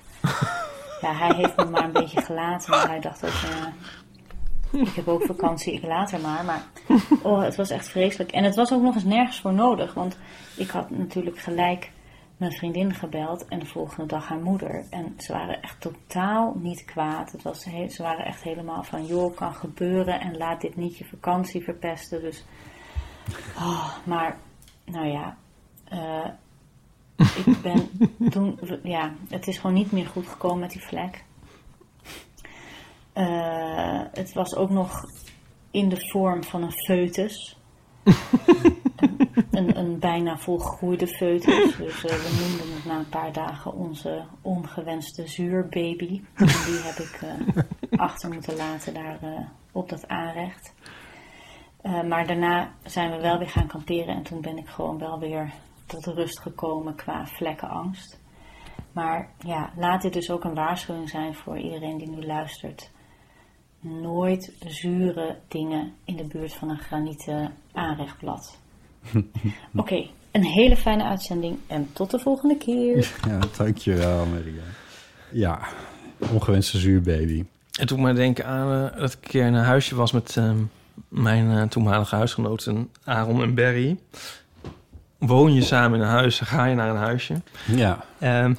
F: ja, hij heeft me maar een beetje gelaten, want hij dacht ook, eh, ik heb ook vakantie, ik laat er maar. Maar oh, het was echt vreselijk. En het was ook nog eens nergens voor nodig, want ik had natuurlijk gelijk mijn vriendin gebeld en de volgende dag haar moeder. En ze waren echt totaal niet kwaad. Het was he- ze waren echt helemaal van, joh, kan gebeuren en laat dit niet je vakantie verpesten. Dus, oh, maar, nou ja, eh, ik ben toen, ja, het is gewoon niet meer goed gekomen met die vlek. Eh, het was ook nog in de vorm van een foetus. een, een bijna volgroeide foetus. Dus eh, we noemden het na een paar dagen onze ongewenste zuurbaby. En die heb ik eh, achter moeten laten daar eh, op dat aanrecht. Eh, maar daarna zijn we wel weer gaan kamperen en toen ben ik gewoon wel weer tot rust gekomen qua vlekkenangst. Maar ja, laat dit dus ook een waarschuwing zijn voor iedereen die nu luistert. Nooit zure dingen in de buurt van een granieten aanrechtblad. Oké, een hele fijne uitzending en tot de volgende keer.
D: [laughs] Ja, dankjewel, Maria. Ja, ongewenste zuurbaby.
C: Het doet mij denken aan eh, dat ik een keer in een huisje was met eh, mijn eh, toenmalige huisgenoten Aaron en Berry. Woon je samen in een huis, dan ga je naar een huisje.
D: Ja.
C: Ehm,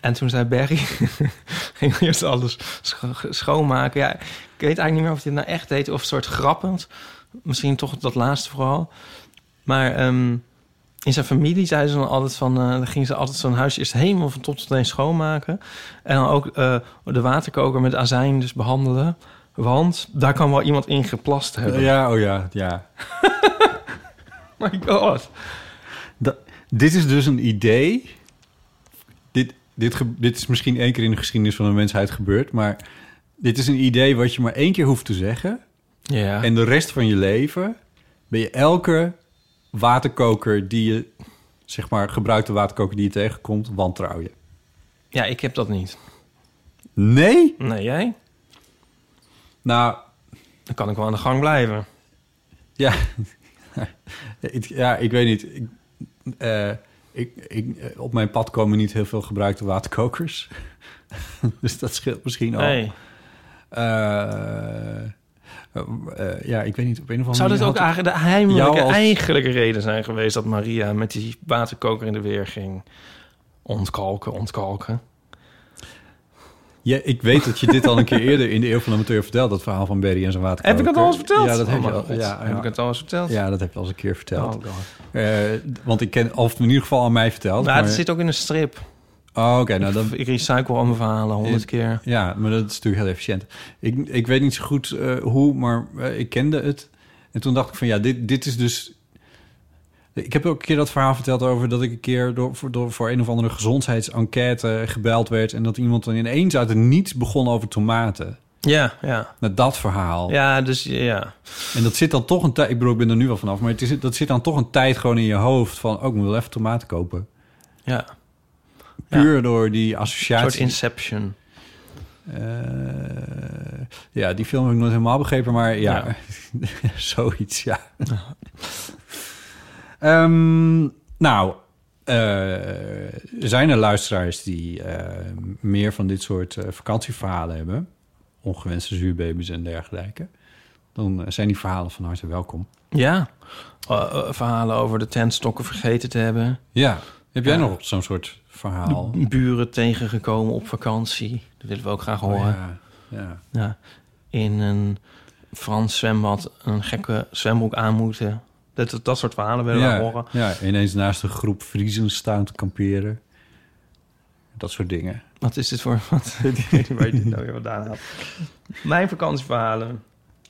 C: en toen zei Berry, [laughs] ging eerst alles scho- schoonmaken. Ja, ik weet eigenlijk niet meer of dit nou echt deed of een soort grappend. Misschien toch dat laatste vooral. Maar ehm, in zijn familie zeiden ze dan altijd van... eh, dan gingen ze altijd zo'n huis eerst helemaal van top tot teen schoonmaken. En dan ook eh, de waterkoker met azijn dus behandelen. Want daar kan wel iemand in geplast hebben. Oh
D: Ja, oh ja, ja.
C: My god.
D: Da- dit is dus een idee. Dit, dit, ge- dit is misschien één keer in de geschiedenis van de mensheid gebeurd, maar dit is een idee wat je maar één keer hoeft te zeggen.
C: Ja.
D: En de rest van je leven ben je elke waterkoker die je, zeg maar, gebruikte waterkoker die je tegenkomt, wantrouw je.
C: ja, ik heb dat niet.
D: Nee?
C: Nee, jij?
D: Nou,
C: Dan kan ik wel aan de gang blijven.
D: Ja, [laughs] ik, ja ik weet niet. Ik, eh, ik, ik, eh, op mijn pad komen niet heel veel gebruikte waterkokers. [laughs] dus dat scheelt misschien al.
C: Nee.
D: Eh, eh, eh, ja, ik weet niet. Op een of andere
C: Zou dit
D: manier
C: ook
D: had ik-
C: eigenlijk de heimelijke,
D: jou als-
C: eigenlijke reden zijn geweest... dat Maria met die waterkoker in de weer ging ontkalken, ontkalken?
D: Ja, ik weet dat je dit al een keer eerder in de Eeuw van de Amateur vertelt. Dat verhaal van Berry en zijn waterkoker.
C: Heb ik dat al eens verteld?
D: Ja, dat heb,
C: Oh
D: je
C: mijn
D: al,
C: God,
D: ja,
C: heb ik
D: ja,
C: het al eens verteld?
D: ja, dat heb je al eens een keer verteld.
C: Oh god.
D: Eh, d- want ik ken, of in ieder geval aan mij verteld.
C: Nou,
D: maar-
C: het zit ook in een strip.
D: Oh, oké. nou, dan,
C: Ik recycle al mijn verhalen honderd keer.
D: Ja, maar dat is natuurlijk heel efficiënt. Ik, ik weet niet zo goed eh, hoe, maar eh, ik kende het. En toen dacht ik van ja, dit, dit is dus... Ik heb ook een keer dat verhaal verteld over dat ik een keer door, voor, door, voor een of andere gezondheidsenquête gebeld werd. En dat iemand dan ineens uit het niets begon over tomaten.
C: Ja, ja.
D: Met dat verhaal.
C: Ja, dus ja.
D: En dat zit dan toch een tijd... Ik bedoel, ik ben er nu wel vanaf. Maar het is, dat zit dan toch een tijd gewoon in je hoofd van... Oh, ik moet wel even tomaten kopen.
C: ja. Ja.
D: Puur door die
C: Een soort
D: associatie.
C: inception.
D: Eh, ja, die film heb ik nooit helemaal begrepen, maar ja, [laughs] zoiets, ja. [laughs] Ehm, nou, eh, zijn er luisteraars die eh, meer van dit soort eh, vakantieverhalen hebben? Ongewenste zuurbabies en dergelijke. Dan eh, zijn die verhalen van harte welkom.
C: Ja. Eh, eh, verhalen over de tentstokken vergeten te hebben.
D: Ja, heb jij
C: Ja.
D: nog zo'n soort verhaal?
C: Buren tegengekomen op vakantie. Dat willen we ook graag horen.
D: ja, ja.
C: ja, in een Frans zwembad een gekke zwembroek aan moeten. Dat, dat, dat soort verhalen willen we
D: Ja,
C: horen.
D: ja, ineens naast een groep Vriezen staan te kamperen. Dat soort dingen.
C: Wat is dit voor...
D: [laughs]
C: Wat, ik weet niet waar je dit nou weer vandaan haalt. Mijn vakantieverhalen.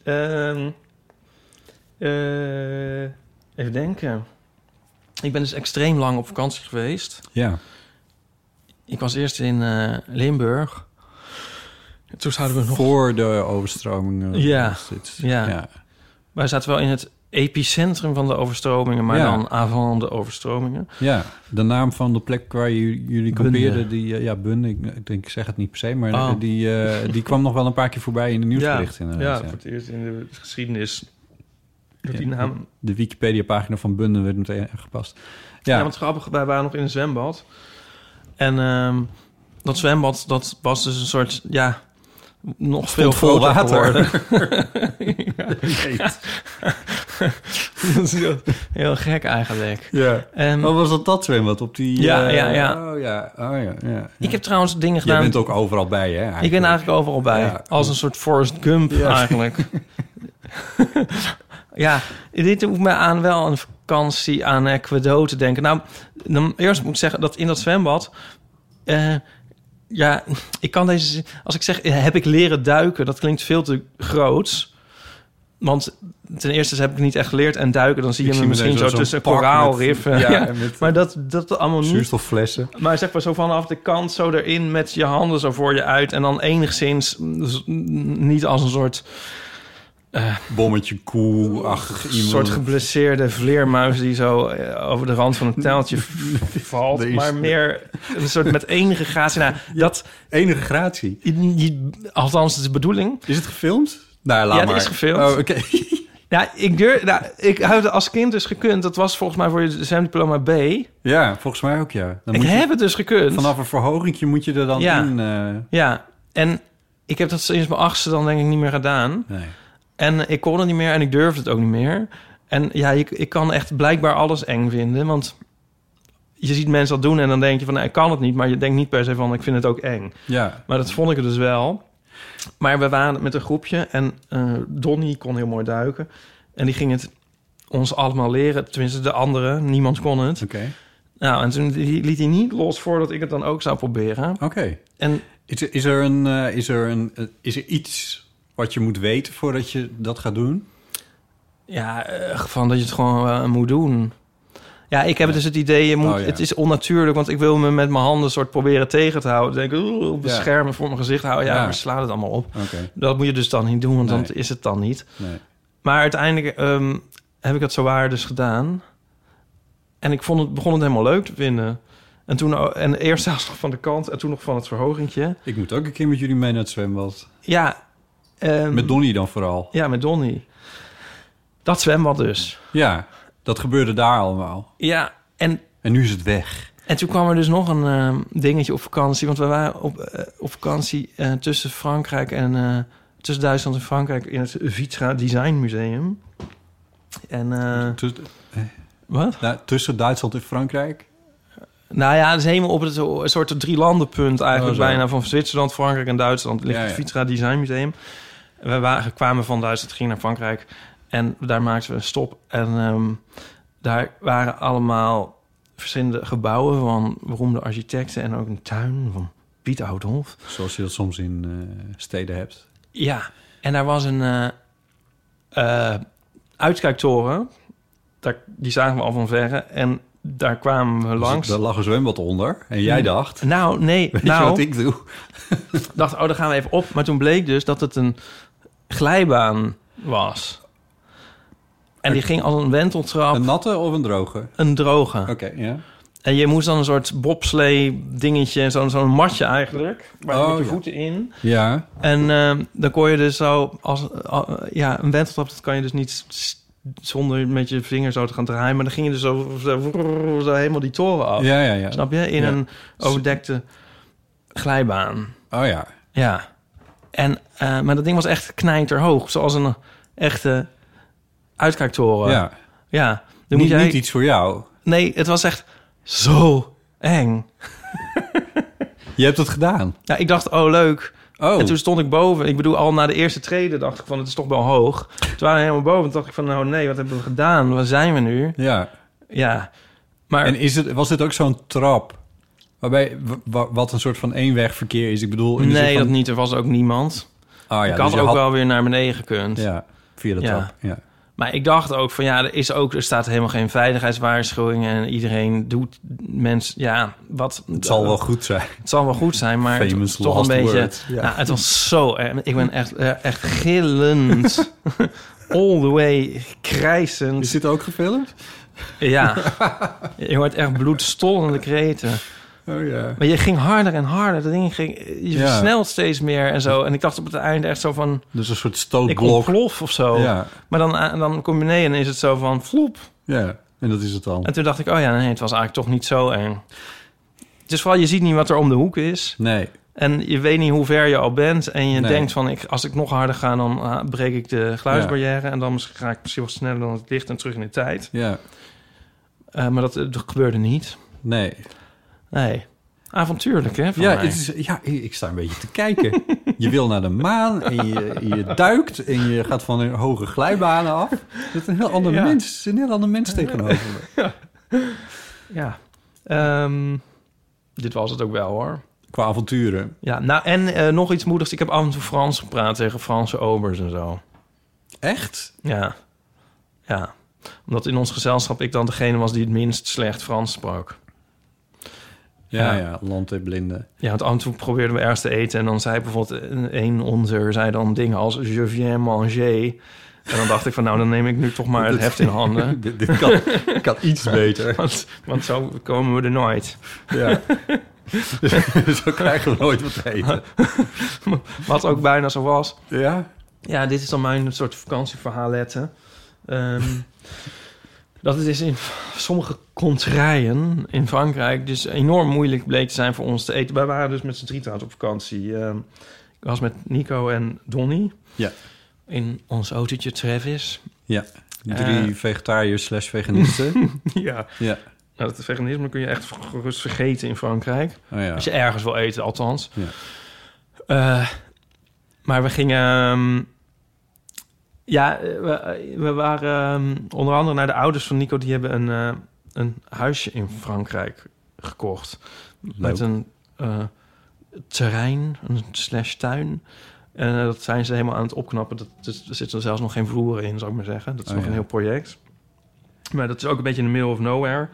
C: Ehm, eh, even denken. Ik ben dus extreem lang op vakantie geweest.
D: Ja.
C: Ik was eerst in eh, Limburg. Toen zouden we nog...
D: Voor de overstroming. eh,
C: Ja.
D: was dit.
C: Ja. Wij zaten wel in het epicentrum van de overstromingen, maar
D: Ja.
C: dan avant de overstromingen.
D: Ja, de naam van de plek waar ju- jullie kampeerden,
C: Bunde.
D: die, eh, ja, Bunde, ik, ik denk, ik zeg het niet per se, maar
C: Oh.
D: eh, die, eh, die kwam nog wel een paar keer voorbij in de nieuwsberichten.
C: ja,
D: inderdaad,
C: voor
D: ja.
C: het eerst in de geschiedenis. Dat
D: Ja.
C: die naam.
D: De Wikipedia-pagina van Bunde werd meteen aangepast.
C: Ja.
D: Ja,
C: want grappig, wij waren nog in een zwembad. En ehm, dat zwembad, dat was dus een soort, ja, nog veel
D: vol
C: groter
D: water. [laughs]
C: geworden. ja. [laughs] dat is heel, heel gek eigenlijk.
D: ja.
C: En
D: Oh, was dat dat zwembad op die...
C: Ja,
D: eh,
C: ja, ja.
D: Oh ja, oh ja, ja, ja.
C: ik heb trouwens dingen
D: Je
C: gedaan.
D: bent ook overal bij, hè?
C: Ik ben eigenlijk overal bij.
D: Ja.
C: Als een soort Forrest Gump
D: Ja.
C: eigenlijk. [laughs] ja, dit hoeft mij aan wel een vakantie aan eh, Quado te denken. Nou, dan eerst moet ik zeggen dat in dat zwembad... eh, ja, ik kan deze... zin- Als ik zeg, eh, heb ik leren duiken, dat klinkt veel te groot. Want ten eerste heb ik niet echt geleerd. En duiken, dan zie je
D: Ik
C: me
D: zie
C: misschien
D: meteen
C: zo
D: zo'n
C: tussen
D: pak met-
C: koraalriffen.
D: ja,
C: Ja,
D: en met-
C: maar dat, dat allemaal niet.
D: Zuurstofflessen.
C: Maar zeg maar zo vanaf de kant zo erin met je handen zo voor je uit. En dan enigszins mm, dus, mm, niet als een soort,
D: Bommetje koe-achtig iemand.
C: soort geblesseerde vleermuis die zo eh, over de rand van een
D: [laughs]
C: taaltje valt.
D: Deze.
C: Maar meer een soort met enige
D: [laughs]
C: gratie. Nou, dat,
D: Enige gratie.
C: je- althans, dat is de bedoeling.
D: Is het gefilmd? Nou, laat
C: Ja, het
D: maar.
C: is gefilmd.
D: Oh, oké. [laughs]
C: Ja, ik durf, nou, ik had als kind dus gekund. Dat was volgens mij voor je zwemdiploma B.
D: Ja, volgens mij ook, ja. Dan
C: ik
D: moet je-
C: heb het dus gekund.
D: Vanaf een verhogingje moet je er dan
C: Ja.
D: in... eh,
C: Ja, en ik heb dat sinds mijn achtste dan denk ik niet meer gedaan.
D: nee.
C: En ik kon het niet meer en ik durfde het ook niet meer. En ja, ik, ik kan echt blijkbaar alles eng vinden. Want je ziet mensen dat doen en dan denk je van... Nou, ik kan het niet, maar je denkt niet per se van... ik vind het ook eng.
D: Ja,
C: Maar dat vond ik het dus wel. Maar we waren met een groepje en eh Donnie kon heel mooi duiken. En die ging het ons allemaal leren. Tenminste, de anderen. Niemand kon het.
D: oké.
C: Nou, en toen li- liet hij niet los voordat ik het dan ook zou proberen.
D: Oké.
C: En
D: Is, er- is er een... eh, is, er een eh, is er iets wat je moet weten voordat je dat gaat doen?
C: Ja, eh, van dat je het gewoon eh, moet doen. Ja, ik heb dus het idee, je moet,
D: Oh, ja.
C: het is onnatuurlijk, want ik wil me met mijn handen soort proberen tegen te houden. Denk, oeh,
D: Ja.
C: beschermen voor mijn gezicht houden. Ja,
D: Ja.
C: maar sla het allemaal op.
D: Oké.
C: Dat moet je dus dan niet doen, want
D: Nee.
C: dan is het dan niet.
D: Nee.
C: Maar uiteindelijk ehm, heb ik dat zo waar dus gedaan. En ik vond het, begon het helemaal leuk te vinden. En, toen, o- en eerst [laughs] zelfs nog van de kant en toen nog van het verhogingtje.
D: Ik moet ook een keer met jullie mee naar het zwembad.
C: Ja, ehm,
D: Met Donnie dan vooral.
C: ja met Donnie. Dat zwembad dus.
D: Ja, dat gebeurde daar allemaal.
C: Ja, en
D: En nu is het weg.
C: En toen kwam er dus nog een ehm, dingetje op vakantie. Want we waren op, eh, op vakantie eh, tussen Frankrijk en... eh, tussen Duitsland en Frankrijk in het Vitra Design Museum. En... eh,
D: Tuss-
C: wat?
D: nou, tussen Duitsland en Frankrijk.
C: Nou ja, dat is helemaal op het o- een soort drielandenpunt eigenlijk
D: Oh, zo.
C: bijna. Van Zwitserland, Frankrijk en Duitsland ligt
D: Ja,
C: het
D: ja.
C: Vitra Design Museum. We waren, kwamen van Duitsland, gingen naar Frankrijk. En daar maakten we een stop. En ehm, daar waren allemaal verschillende gebouwen van beroemde architecten. En ook een tuin van Piet Oudolf.
D: Zoals je dat soms in eh, steden hebt.
C: Ja, en daar was een eh, eh, uitkijktoren. Daar, die zagen we al van verre. En daar kwamen we langs.
D: Dus daar lag een zwembad onder. En jij dacht, [laughs]
C: Nou, nee.
D: weet
C: nou,
D: je wat ik doe?
C: dacht, oh, daar gaan we even op. Maar toen bleek dus dat het een glijbaan was. En die ging als een wenteltrap,
D: Een
C: een,
D: natte of een droge? Oké,
C: droge.
D: ja.
C: En je moest dan een soort bobslee dingetje, zo'n zo'n matje eigenlijk. Waar
D: Oh,
C: je met je
D: ja.
C: voeten in.
D: Ja,
C: En ehm, dan kon je dus zo als al- ja, een wenteltrap, dat kan je dus niet s- zonder met je vinger zo te gaan draaien. Maar dan ging je dus zo, zo, zo helemaal die toren af.
D: ja, ja. ja.
C: Snap je? In
D: Ja.
C: een overdekte glijbaan.
D: Oh ja.
C: Ja. En, eh, maar dat ding was echt knijterhoog. Zoals een echte uitkijktoren.
D: Ja.
C: ja. Dan
D: Niet,
C: moet jij-
D: niet iets voor jou.
C: Nee, het was echt zo eng.
D: Je hebt het gedaan.
C: Ja, ik dacht, oh leuk.
D: Oh.
C: En toen stond ik boven. Ik bedoel, al na de eerste treden dacht ik van, het is toch wel hoog. Toen waren we helemaal boven. Toen dacht ik van, nou nee, wat hebben we gedaan? Waar zijn we nu?
D: Ja.
C: Ja. Maar
D: En is het, was dit ook zo'n trap? Waarbij, wa- wa- wat een soort van eenwegverkeer is. Ik bedoel... in de
C: nee,
D: zin
C: dat
D: dus van,
C: niet. Er was ook niemand.
D: Ah, ja,
C: ik had
D: dus je
C: ook
D: had-
C: wel weer naar beneden gekund.
D: Ja, via de
C: Ja.
D: trap. Ja.
C: Maar ik dacht ook van ja, er, is ook, er staat helemaal geen veiligheidswaarschuwing en iedereen doet mensen, ja, wat.
D: Het zal wel goed zijn.
C: Het zal wel goed zijn, maar het
D: Famous
C: was toch een
D: last
C: beetje.
D: word, ja.
C: Nou, het was zo erg. Ik ben echt, eh, echt
D: [laughs]
C: gillend. All the way
D: Is
C: krijsend.
D: dit ook gefilmd?
C: Ja,
D: [laughs]
C: je hoort echt bloedstollende kreten.
D: Oh ja.
C: Maar je ging harder en harder. Dat ding ging, je
D: Ja.
C: versnelt steeds meer en zo. En ik dacht op het einde echt zo van,
D: Dus een soort
C: ik
D: stootblok.
C: ontplof of zo.
D: Ja,
C: Maar dan, eh, dan kom je beneden en is het zo van, vloep.
D: ja, en dat is het dan.
C: En toen dacht ik, oh ja, nee, het was eigenlijk toch niet zo eng. Het is vooral, je ziet niet wat er om de hoek is.
D: Nee,
C: En je weet niet hoe ver je al bent. En je
D: Nee.
C: denkt van, ik, als ik nog harder ga, dan ah, breek ik de geluidsbarrière. En dan misschien- ga ik misschien wel sneller dan het licht en terug in de tijd.
D: ja,
C: Eh, maar dat, eh, dat gebeurde niet.
D: nee.
C: Nee. Avontuurlijk, hè? Van
D: Ja,
C: mij.
D: het is, ja, ik ik sta een beetje te kijken. Je wil naar de maan en je, je duikt en je gaat van een hoge glijbanen af. Dat is een heel ander
C: Ja.
D: mens. Er zit een heel ander mens tegenover me.
C: Ja. Ehm, dit was het ook wel, hoor.
D: Qua avonturen.
C: Ja, nou, en eh, nog iets moedigs. Ik heb af en toe Frans gepraat tegen Franse obers en zo.
D: Echt?
C: Ja. Ja. Omdat in ons gezelschap ik dan degene was die het minst slecht Frans sprak.
D: Ja,
C: Ja.
D: ja, land en blinden.
C: Ja, want af en toe probeerden we ergens te eten. En dan zei bijvoorbeeld een- een onzer zei dan dingen als... Je viens manger. En dan dacht ik van, nou, dan neem ik nu toch maar het heft in
D: [laughs]
C: handen.
D: dit, dit kan, kan iets beter.
C: Want, want zo komen we er nooit.
D: Ja. [laughs] Zo krijgen we nooit wat te eten.
C: Wat ook bijna zo was.
D: Ja?
C: Ja, dit is dan mijn soort vakantieverhaletten. Ehm [laughs] dat het is in sommige contraien in Frankrijk dus enorm moeilijk bleek te zijn voor ons te eten. Wij waren dus met z'n drieën trouwens op vakantie. Ehm, ik was met Nico en Donny
D: Ja.
C: in ons autootje Travis.
D: Ja. Drie
C: Eh.
D: vegetariërs slash veganisten.
C: ja,
D: ja.
C: nou, dat veganisme kun je echt gerust vergeten in Frankrijk.
D: Oh ja.
C: Als je ergens wil eten, althans.
D: Ja.
C: Eh, maar we gingen... ehm, ja, eh, we, we waren ehm, onder andere naar de ouders van Nico. Die hebben een, eh, een huisje in Frankrijk gekocht. Met een eh, terrein, een slash tuin. En eh, dat zijn ze helemaal aan het opknappen. Dat, dat, er zit er zelfs nog geen vloer in, zou ik maar zeggen. Dat is
D: Oh,
C: nog
D: ja.
C: een heel project. Maar dat is ook een beetje in the middle of nowhere.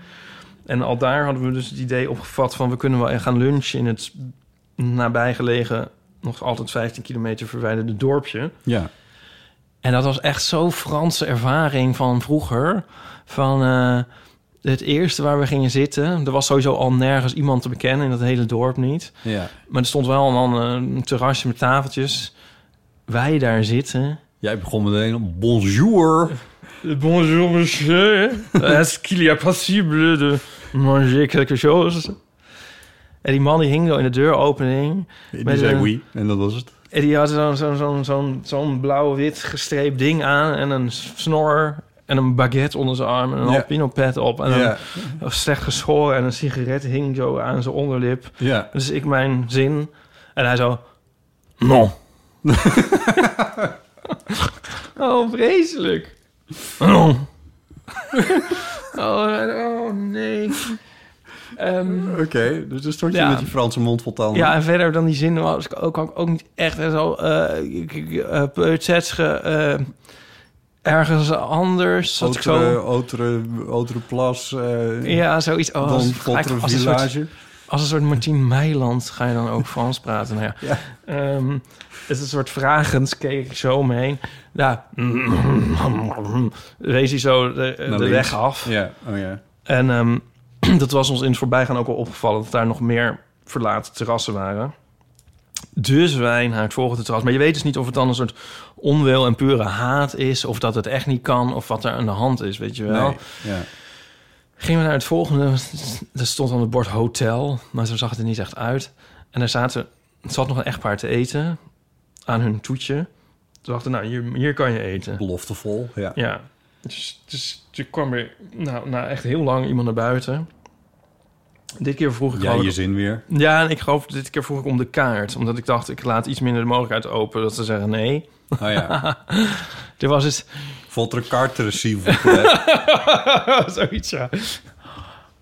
C: En al daar hadden we dus het idee opgevat van... we kunnen wel gaan lunchen in het nabijgelegen... nog altijd 15 kilometer verwijderde dorpje.
D: Ja.
C: En dat was echt zo'n Franse ervaring van vroeger. Van eh, het eerste waar we gingen zitten... er was sowieso al nergens iemand te bekennen... in dat hele dorp niet.
D: Ja.
C: Maar er stond wel een, een terrasje met tafeltjes. Wij daar zitten...
D: Jij begon meteen op bonjour.
C: Bonjour monsieur, est-ce qu'il y a possible de manger quelque chose? En die man die hing zo in de deuropening.
D: Die
C: Met
D: zei
C: een-
D: oui. En dat was het.
C: En die had zo'n zo, zo, zo, zo'n blauw-wit gestreept ding aan. En een snor. En een baguette onder zijn arm. En een
D: Ja.
C: alpino pet op. En
D: Ja.
C: een slecht geschoren. En een sigaret hing zo aan zijn onderlip.
D: Ja.
C: Dus ik mijn zin. En hij zo... Non. oh,
D: [laughs]
C: vreselijk. Non. oh, oh, nee. Ehm,
D: Oké, dus dan stond je
C: Ja.
D: met die Franse mond vol tanden.
C: ja, en verder dan die zin was ik ook, ook, ook niet echt en zo... eh, ik- ik- eh, Peutsetske, eh, ergens anders. Zat ik
D: Otere,
C: zo...
D: otere, otere plas. eh,
C: Ja, zoiets. Oh,
D: dan
C: als,
D: Otere
C: als een soort
D: village.
C: Als een soort Martien Meiland ga je dan ook Frans praten. Nou ja.
D: Ja.
C: Ehm, het is een soort vragend, keek ik zo omheen. Ja, [clears throat] wees hij zo de, de
D: Naar links.
C: weg af.
D: Ja, oh ja.
C: En ehm, [clears throat] dat was ons in het voorbijgaan ook al opgevallen... dat daar nog meer verlaten terrassen waren. Dus wij naar het volgende terras. Maar je weet dus niet of het dan een soort onwil en pure haat is... of dat het echt niet kan, of wat er aan de hand is, weet je wel.
D: Nee, ja.
C: Gingen we naar het volgende. Er stond aan het bord hotel, maar zo zag het er niet echt uit. En daar zaten, het zat nog een echtpaar te eten aan hun toetje. Toen dachten, nou, hier, hier kan je eten.
D: Beloftevol. Ja.
C: Ja. Dus, dus toen kwam er nou, na echt heel lang iemand naar buiten. Dit keer vroeg ik
D: Ja,
C: gewoon-
D: je zin [laughs] weer.
C: ja, en ik geloof, dit keer vroeg ik om de kaart. Omdat ik dacht, ik laat iets minder de mogelijkheid open dat ze zeggen nee.
D: Oh ja.
C: Dit was dus het,
D: Votre carte [laughs] receive.
C: [laughs] Zoiets, ja.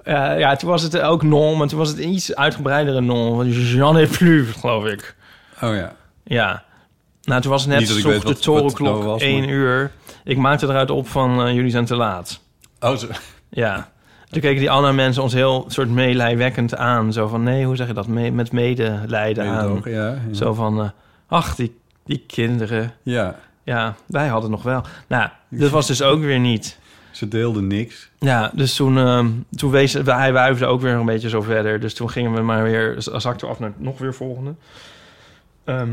C: Eh, ja, toen was het ook non, maar toen was het een iets uitgebreidere non. Want J'en ai plus, geloof ik.
D: Oh ja.
C: Ja. Nou, toen was het net
D: Niet dat ik
C: zocht
D: weet
C: de
D: wat- wat het nou
C: torenklok
D: was,
C: 1
D: maar-
C: uur. Ik maakte eruit op van eh, jullie zijn te laat.
D: Oh, zo.
C: Ja. Toen keken die andere mensen ons heel soort meelijwekkend aan. Zo van, nee, hoe zeg je dat? Me- met medelijden aan.
D: Meedogen, ja. ja.
C: Zo van, eh, ach, die, die kinderen.
D: Ja,
C: Ja, wij hadden nog wel. Nou, dat was dus ook weer niet.
D: ze deelden niks.
C: Ja, dus toen, ehm, toen wees, hij wuifde ook weer een beetje zo verder. Dus toen gingen we maar weer, zakte af naar nog weer volgende. Ehm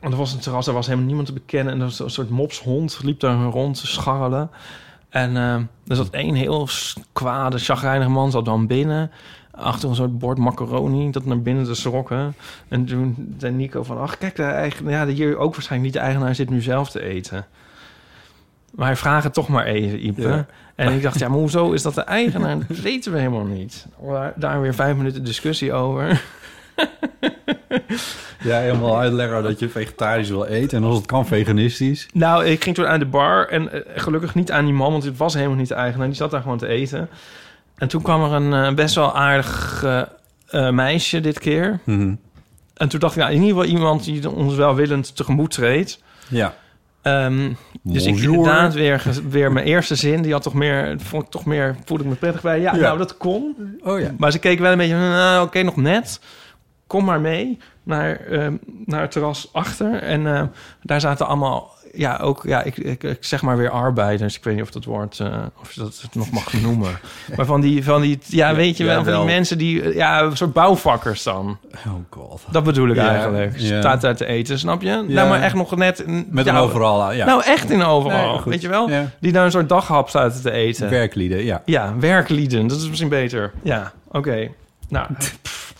C: en er was een terras, daar was helemaal niemand te bekennen. En er was een soort mopshond, liep daar rond te scharrelen. En ehm, er zat één heel s- kwade, chagrijnige man, zat dan binnen. Achter een soort bord macaroni, dat naar binnen te schrokken. En toen zei Nico van, ach kijk, de eigen, ja, de hier ook waarschijnlijk niet de eigenaar zit nu zelf te eten. Maar hij vraagt het toch maar even, Ipe.
D: Ja.
C: En ik dacht, ja, maar hoezo is dat de eigenaar? Dat weten we helemaal niet. Daar- Daar weer vijf minuten discussie over. [laughs]
D: Ja, helemaal uitleggen dat je vegetarisch wil eten. En als het kan, veganistisch.
C: Nou, ik ging toen aan de bar en eh, gelukkig niet aan die man, want het was helemaal niet de eigenaar. Die zat daar gewoon te eten. En toen kwam er een eh, best wel aardig eh, eh, meisje dit keer.
D: Mhm.
C: En toen dacht ik, nou, in ieder geval iemand die ons welwillend tegemoet treedt.
D: Ja.
C: Ehm, dus ik
D: Bonjour.
C: inderdaad weer, ge- weer mijn eerste zin. Die had toch meer, vond ik toch meer, voelde ik me prettig bij. Ja,
D: Ja.
C: nou, dat kon.
D: Oh ja.
C: Maar ze keken wel een beetje, nou, oké, nog net. Kom maar mee naar, ehm, naar het terras achter. En ehm, daar zaten allemaal, ja, ook, ja, ik, ik, ik zeg maar weer arbeiders. Ik weet niet of dat woord, eh, of je dat nog mag
D: [laughs]
C: noemen. Maar van die, van die ja, weet je
D: ja,
C: wel, van
D: wel.
C: die mensen die, eh, ja, een soort bouwvakkers dan.
D: Oh god.
C: Dat bedoel ik
D: Ja,
C: eigenlijk.
D: ja.
C: Staat daar te eten, snap je?
D: Ja.
C: Nou, maar echt nog net. een-
D: Met
C: ja,
D: een overal aan. Ja.
C: Nou, echt in een overal,
D: Nee, goed.
C: weet je wel?
D: Ja.
C: Die daar een soort daghap zaten te
D: eh,
C: eten.
D: Werklieden, ja.
C: Ja, werklieden. Dat is misschien beter. Ja, oké. [laughs] Nou, pff,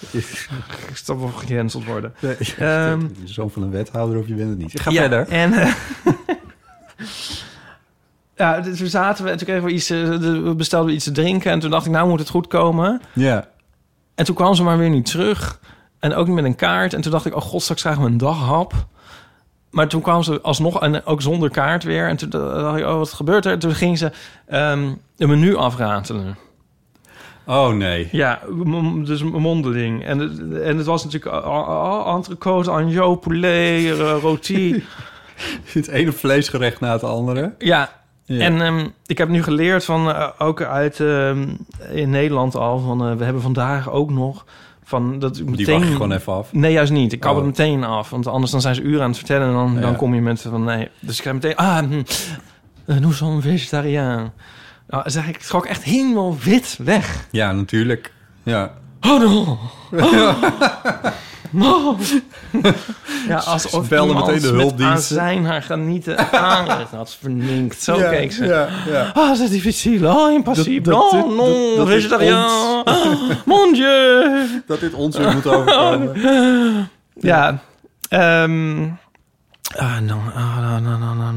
C: ik stap wel gecanceld worden.
D: [laughs]
C: Ehm,
D: Zoon eh, van een wethouder of je bent het niet. Ga
C: ja,
D: verder.
C: En, eh, [laughs] ja, dus toen zaten we en toen kregen we iets, eh, de- we bestelden we iets te drinken. En toen dacht ik, nou moet het goed komen.
D: Ja.
C: En toen kwam ze maar weer niet terug. En ook niet met een kaart. En toen dacht ik, oh god, straks krijgen we een daghap. Maar toen kwam ze alsnog, en ook zonder kaart weer. En toen dacht ik, oh, wat gebeurt er? En toen ging ze ehm, een menu afratelen.
D: Oh nee. [laughs]
C: Ja, m- dus mondeling. En, het- en het was natuurlijk a- a- entrecote, anjo, poulet, eh, roti.
D: [laughs] Het ene vleesgerecht na het andere.
C: ja,
D: Ja.
C: en ehm, ik heb nu geleerd van, eh, ook uit ehm, in Nederland al, van eh, we hebben vandaag ook nog van dat ik
D: Die
C: meteen...
D: wacht ik gewoon even af.
C: Nee, juist niet. Ik kap het
D: Oh.
C: meteen af. Want anders dan zijn ze uren aan het vertellen en dan,
D: Ja.
C: dan kom je met van nee. Dus ik krijg meteen, ah, hm, eh, nous sommes vegetariaan. Nou, zeg ik, schrok echt helemaal wit weg.
D: Ja, natuurlijk. Ja.
C: Oh no.
D: Oh.
C: no. Ja, alsof
D: Ze belden
C: iemand
D: meteen de
C: met
D: hulpdiensten.
C: azijn haar genieten aanrecht had verminkt. Zo
D: ja,
C: keek ze.
D: Ja, ja.
C: Ah, c'est difficile. Ah, impossible.
D: Dat- dat- dat-
C: non, non,
D: dat is
C: végétarien. Ah, mon dieu.
D: Dat dit ons weer [laughs] moet overkomen.
C: Ja. Ehm ah, nou, ah, nou, nou, nou, nou.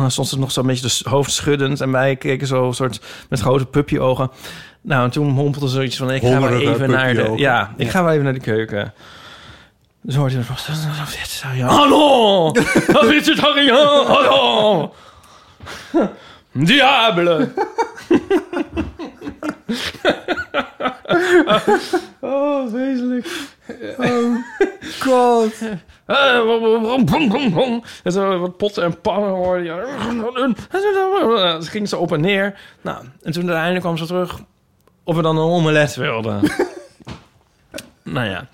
C: Ah, Soms het nog zo'n beetje de hoofd schuddend. En wij keken zo soort met grote puppyogen. Nou, en toen mompelde zoiets van... Ik ga wel
D: Hongerige
C: even naar de...
D: puppyogen.
C: Ja, ik ga wel even naar de keuken. Dus hoorde je... Vegetariaan. Hallo! Vegetariaan! Hallo! Diable! [laughs] oh, vreselijk.
D: God.
C: Eh, bom, bom, bom, bom, bom, bom. En zo wat potten en pannen hoorde je. Ze ging zo op en neer. Nou, en toen uiteindelijk kwam ze terug of we dan een omelet
D: [laughs]
C: wilden. nou ja.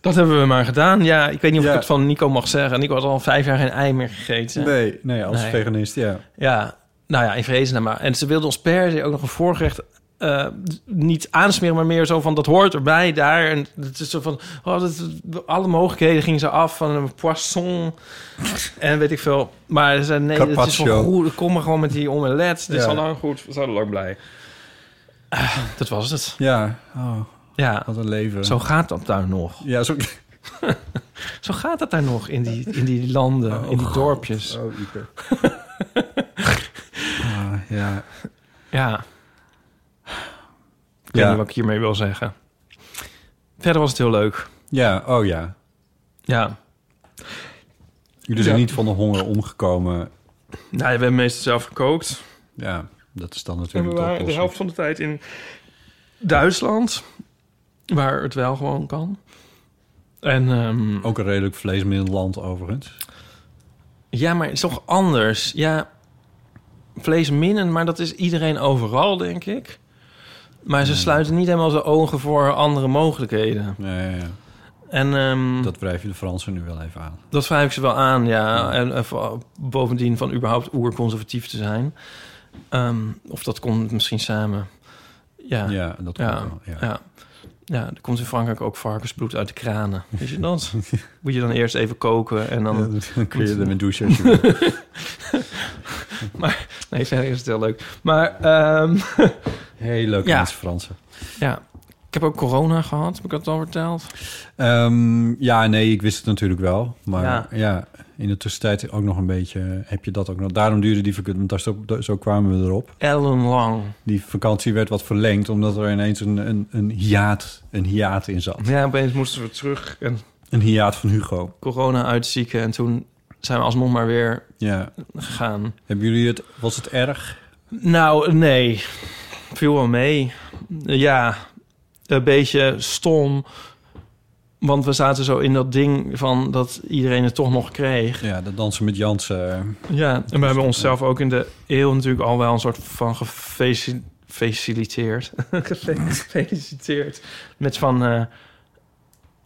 C: Dat hebben we maar gedaan. Ja, ik weet niet of
D: Ja.
C: ik het van Nico mag zeggen. Nico had al vijf jaar geen ei meer gegeten.
D: Nee, nee, als
C: Nee.
D: veganist, ja.
C: Ja, nou ja, in vrezen maar. En ze wilde ons per se ook nog een voorgerecht eh, niet aansmeren, maar meer zo van dat hoort erbij daar. En het is zo van, oh, dat, alle mogelijkheden gingen ze af van een poisson en weet ik veel. Maar ze zei, nee, dat is wel
D: Carpaccio.
C: goed. Kom maar gewoon met die omelet. Dit is
D: Ja.
C: al lang goed. We zijn al lang blij. Ah, dat was het.
D: Ja, oh,
C: Ja,
D: wat een leven.
C: zo gaat dat daar nog.
D: Ja, [laughs] zo...
C: Zo gaat dat daar nog in die, in die landen, in die dorpjes.
D: Oh, [laughs] Ipe. Ah, ja.
C: Ja. Ik weet
D: Ja.
C: niet wat ik hiermee wil zeggen. Verder was het heel leuk.
D: ja, oh ja.
C: Ja.
D: Jullie zijn
C: Ja.
D: niet van de honger omgekomen.
C: Nou, we hebben meestal zelf gekookt.
D: Ja, dat is dan
C: En we
D: natuurlijk
C: waren de
D: oplossing.
C: helft van de tijd in Duitsland. Waar het wel gewoon kan. En ehm,
D: Ook een redelijk vleesmiddelland overigens.
C: Ja, maar het is toch anders. Ja, vleesminnend, maar dat is iedereen overal, denk ik. Maar ze sluiten niet helemaal zijn ogen voor andere mogelijkheden.
D: Ja, ja, ja.
C: En ehm,
D: Dat wrijf je de Fransen nu wel even aan.
C: Dat wrijf ik ze wel aan, ja. En, eh, voor- bovendien van überhaupt oerconservatief te zijn. Ehm, of dat komt misschien samen. Ja,
D: Ja,
C: ja,
D: dat komt
C: ja,
D: wel. Ja.
C: ja. er komt in Frankrijk ook varkensbloed uit de kranen. Weet je dat? Moet je dan eerst even koken en dan...
D: Dan kun je ermee douchen als je wil.
C: Nee, [laughs] verder is het heel leuk. Maar ehm, [laughs]
D: Heel leuk
C: Ja.
D: mensen, Fransen.
C: ja, ik heb ook corona gehad. Heb ik dat al verteld?
D: Ehm, ja, nee, ik wist het natuurlijk wel. Maar
C: Ja.
D: ja. in de tussentijd ook nog een beetje... heb je dat ook nog... Daarom duurde die vakantie... want daar zo, daar- zo kwamen we erop.
C: Ellenlang.
D: Die vakantie werd wat verlengd... omdat er ineens een, een, een, hiaat, een hiaat in zat.
C: Ja, opeens moesten we terug en
D: Een hiaat van Hugo.
C: corona uitzieken. En toen zijn we alsnog maar weer
D: Ja.
C: gegaan.
D: Hebben jullie het... Was het erg?
C: Nou, nee. Viel wel mee. Ja, een beetje stom. Want we zaten zo in dat ding van dat iedereen het toch nog kreeg.
D: Ja, dat dansen met Jansen.
C: Ja, en we hebben onszelf ook in de eeuw natuurlijk al wel een soort van gefaci- gefaciliteerd. [laughs] Gefe- Gefeliciteerd. Met van, eh,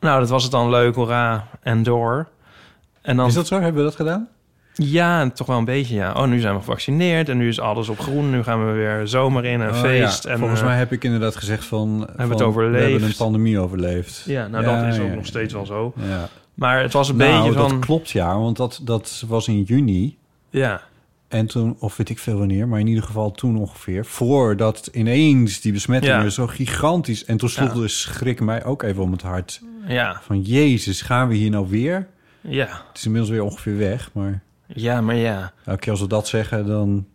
C: nou, dat was het dan leuk, hoera, en door. En dan,
D: Is dat zo? Hebben we dat gedaan?
C: ja, toch wel een beetje, ja. Oh, nu zijn we gevaccineerd en nu is alles op groen. Nu gaan we weer zomer in en
D: Oh,
C: feest.
D: ja.
C: En,
D: Volgens
C: eh,
D: mij heb ik inderdaad gezegd van... Hebben
C: het overleefd?
D: We hebben een pandemie overleefd.
C: Ja, nou
D: Ja,
C: dat is ook
D: ja,
C: nog
D: ja.
C: steeds wel zo.
D: Ja.
C: Maar het was een
D: Nou,
C: beetje van...
D: dat klopt ja, want dat, dat was in juni.
C: Ja,
D: En toen, of weet ik veel wanneer, maar in ieder geval toen ongeveer... voordat ineens die besmettingen
C: Ja.
D: zo gigantisch... en toen sloeg
C: Ja.
D: de schrik mij ook even om het hart.
C: ja,
D: Van jezus, gaan we hier nou weer?
C: ja,
D: Het is inmiddels weer ongeveer weg, maar...
C: ja, maar ja.
D: elke keer als we dat zeggen, dan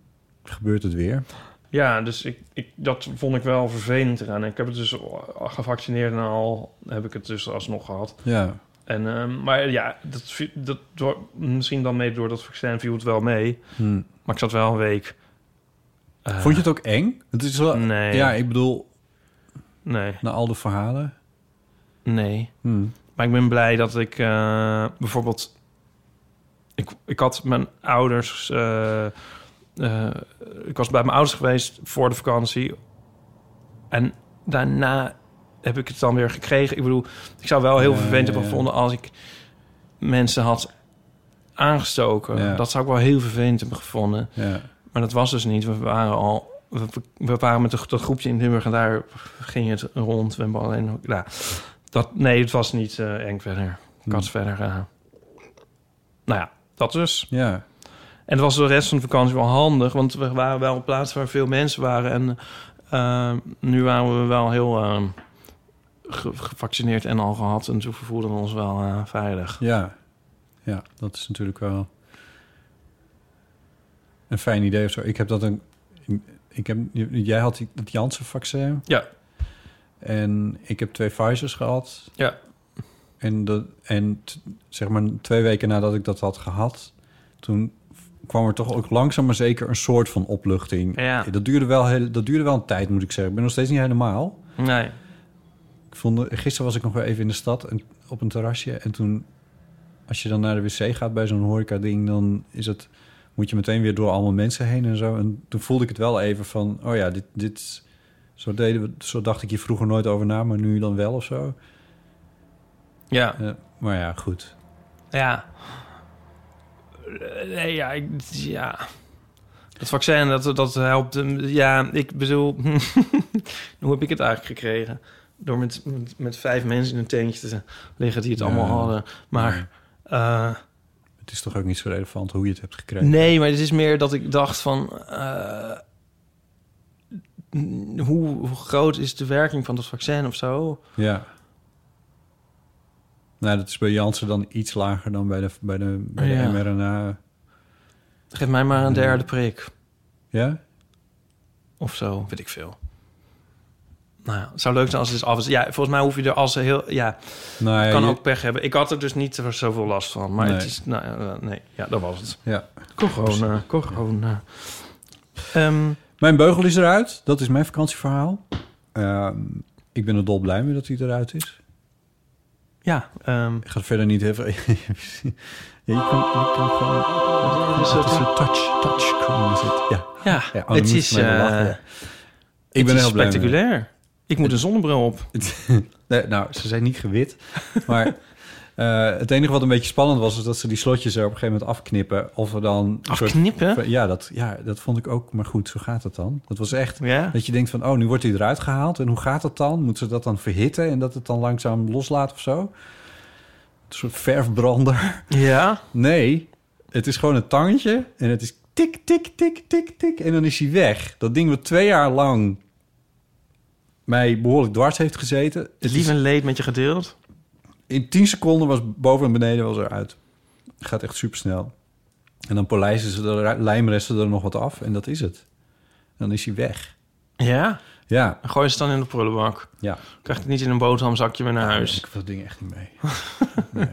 D: gebeurt het weer.
C: Ja, dus ik, ik, dat vond ik wel vervelend eraan. Ik heb het dus gevaccineerd en al heb ik het dus alsnog gehad.
D: Ja,
C: En, ehm, maar ja, dat, vi- dat, door, misschien dan mee door dat vaccin viel het wel mee.
D: Hm.
C: Maar ik zat wel een week... eh,
D: Vond je het ook eng? Het is wel,
C: Nee.
D: Ja, ik bedoel,
C: Nee,
D: na al de verhalen.
C: nee.
D: Hm.
C: Maar ik ben blij dat ik eh, bijvoorbeeld... Ik, ik had mijn ouders... eh, eh, ik was bij mijn ouders geweest voor de vakantie. En daarna heb ik het dan weer gekregen. Ik bedoel, ik zou wel heel
D: Ja,
C: vervelend
D: ja,
C: hebben
D: ja.
C: gevonden... als ik mensen had aangestoken.
D: Ja.
C: Dat zou ik wel heel vervelend hebben gevonden.
D: Ja.
C: Maar dat was dus niet. We waren al... We, we waren met de- dat groepje in Limburg en daar ging het rond. We hebben alleen... Nou, dat, nee, het was niet eh, eng verder. Ik had verder... eh, nou ja, dat dus.
D: ja.
C: En het was de rest van de vakantie wel handig... want we waren wel op plaats waar veel mensen waren. En eh, nu waren we wel heel eh, ge- gevaccineerd en al gehad. En toen voelden we ons wel eh, veilig.
D: Ja, ja, dat is natuurlijk wel een fijn idee of zo. Ik heb dat een. Ik heb, jij had die- het Janssen-vaccin.
C: Ja.
D: En ik heb twee Pfizer's gehad.
C: Ja.
D: En, dat, en t- zeg maar twee weken nadat ik dat had gehad... toen kwam er toch ook langzaam maar zeker een soort van opluchting.
C: Ja.
D: Dat, duurde wel heel, dat duurde wel een tijd, moet ik zeggen. Ik ben nog steeds niet helemaal.
C: Nee.
D: Ik vond, gisteren was ik nog wel even in de stad en, op een terrasje. En toen, als je dan naar de wc gaat bij zo'n horeca-ding, dan is het, moet je meteen weer door allemaal mensen heen en zo. En toen voelde ik het wel even van, oh ja, dit, dit zo, deden we, zo dacht ik hier vroeger nooit over na, maar nu dan wel of zo.
C: Ja.
D: Eh, maar ja, goed.
C: Ja. Eh, Nee, ja, ik, ja. Het vaccin, dat, dat helpt. hem. Ja, ik bedoel, [laughs] hoe heb ik het eigenlijk gekregen? Door met, met, met vijf mensen in een tentje te liggen die het
D: Ja.
C: allemaal hadden. Maar eh,
D: Het is toch ook niet zo relevant hoe je het hebt gekregen.
C: nee, maar het is meer dat ik dacht van... eh, n- hoe, hoe groot is de werking van dat vaccin of zo?
D: Ja. Nou, dat is bij Jansen dan iets lager dan bij de, bij de, bij de
C: Ja.
D: mRNA.
C: Geef mij maar een derde prik.
D: Ja?
C: of zo, weet ik veel. Nou ja, het zou leuk zijn als het is af is. Ja, volgens mij hoef je er als ze heel... Ja,
D: Nou, ja,
C: kan
D: je-
C: ook pech hebben. Ik had er dus niet zoveel last van. Maar het
D: Nee.
C: is... Nou, ja, nee, ja, dat was het.
D: Ja.
C: Corona, corona. Ehm,
D: Mijn beugel is eruit. Dat is mijn vakantieverhaal. Ehm, ik ben er dol blij mee dat hij eruit is.
C: Ja, ehm,
D: Ik ga er verder niet even... [laughs] ja, je kan, je kan gewoon...
C: een soort-
D: Het is een touch, touchscreen is het. Ja.
C: ja,
D: Ja, oh, dan
C: het
D: moet
C: is,
D: je maar even
C: eh,
D: lachen.
C: het
D: Ik ben
C: is
D: heel blij mee.
C: spectaculair. Ik moet een zonnebril op.
D: Nee, nou, ze zijn niet gewit.
C: [laughs]
D: Maar eh, het enige wat een beetje spannend was... is dat ze die slotjes er op een gegeven moment afknippen. Of er dan... een soort-
C: Afknippen?
D: ja, dat, ja, dat vond ik ook. Maar goed, zo gaat het dan. Dat was echt...
C: Ja.
D: Dat je denkt van, oh, nu wordt hij eruit gehaald. En hoe gaat dat dan? Moeten ze dat dan verhitten en dat het dan langzaam loslaat of zo? Een soort verfbrander. [laughs]
C: Ja.
D: Nee, het is gewoon een tangetje. En het is tik, tik, tik, tik, tik. En dan is hij weg. Dat ding wat twee jaar lang mij behoorlijk dwars heeft gezeten.
C: Het
D: Het
C: lief
D: is,
C: en leed met je gedeeld.
D: in tien seconden was boven en beneden was eruit. Gaat echt supersnel. En dan polijsten ze de lijmresten er nog wat af. En dat is het. Dan is hij weg.
C: Ja.
D: Ja,
C: En gooi ze het dan in de prullenbak.
D: ja.
C: Krijg je het niet in een boterhamzakje mee naar huis.
D: Ik wil dat ding echt niet mee.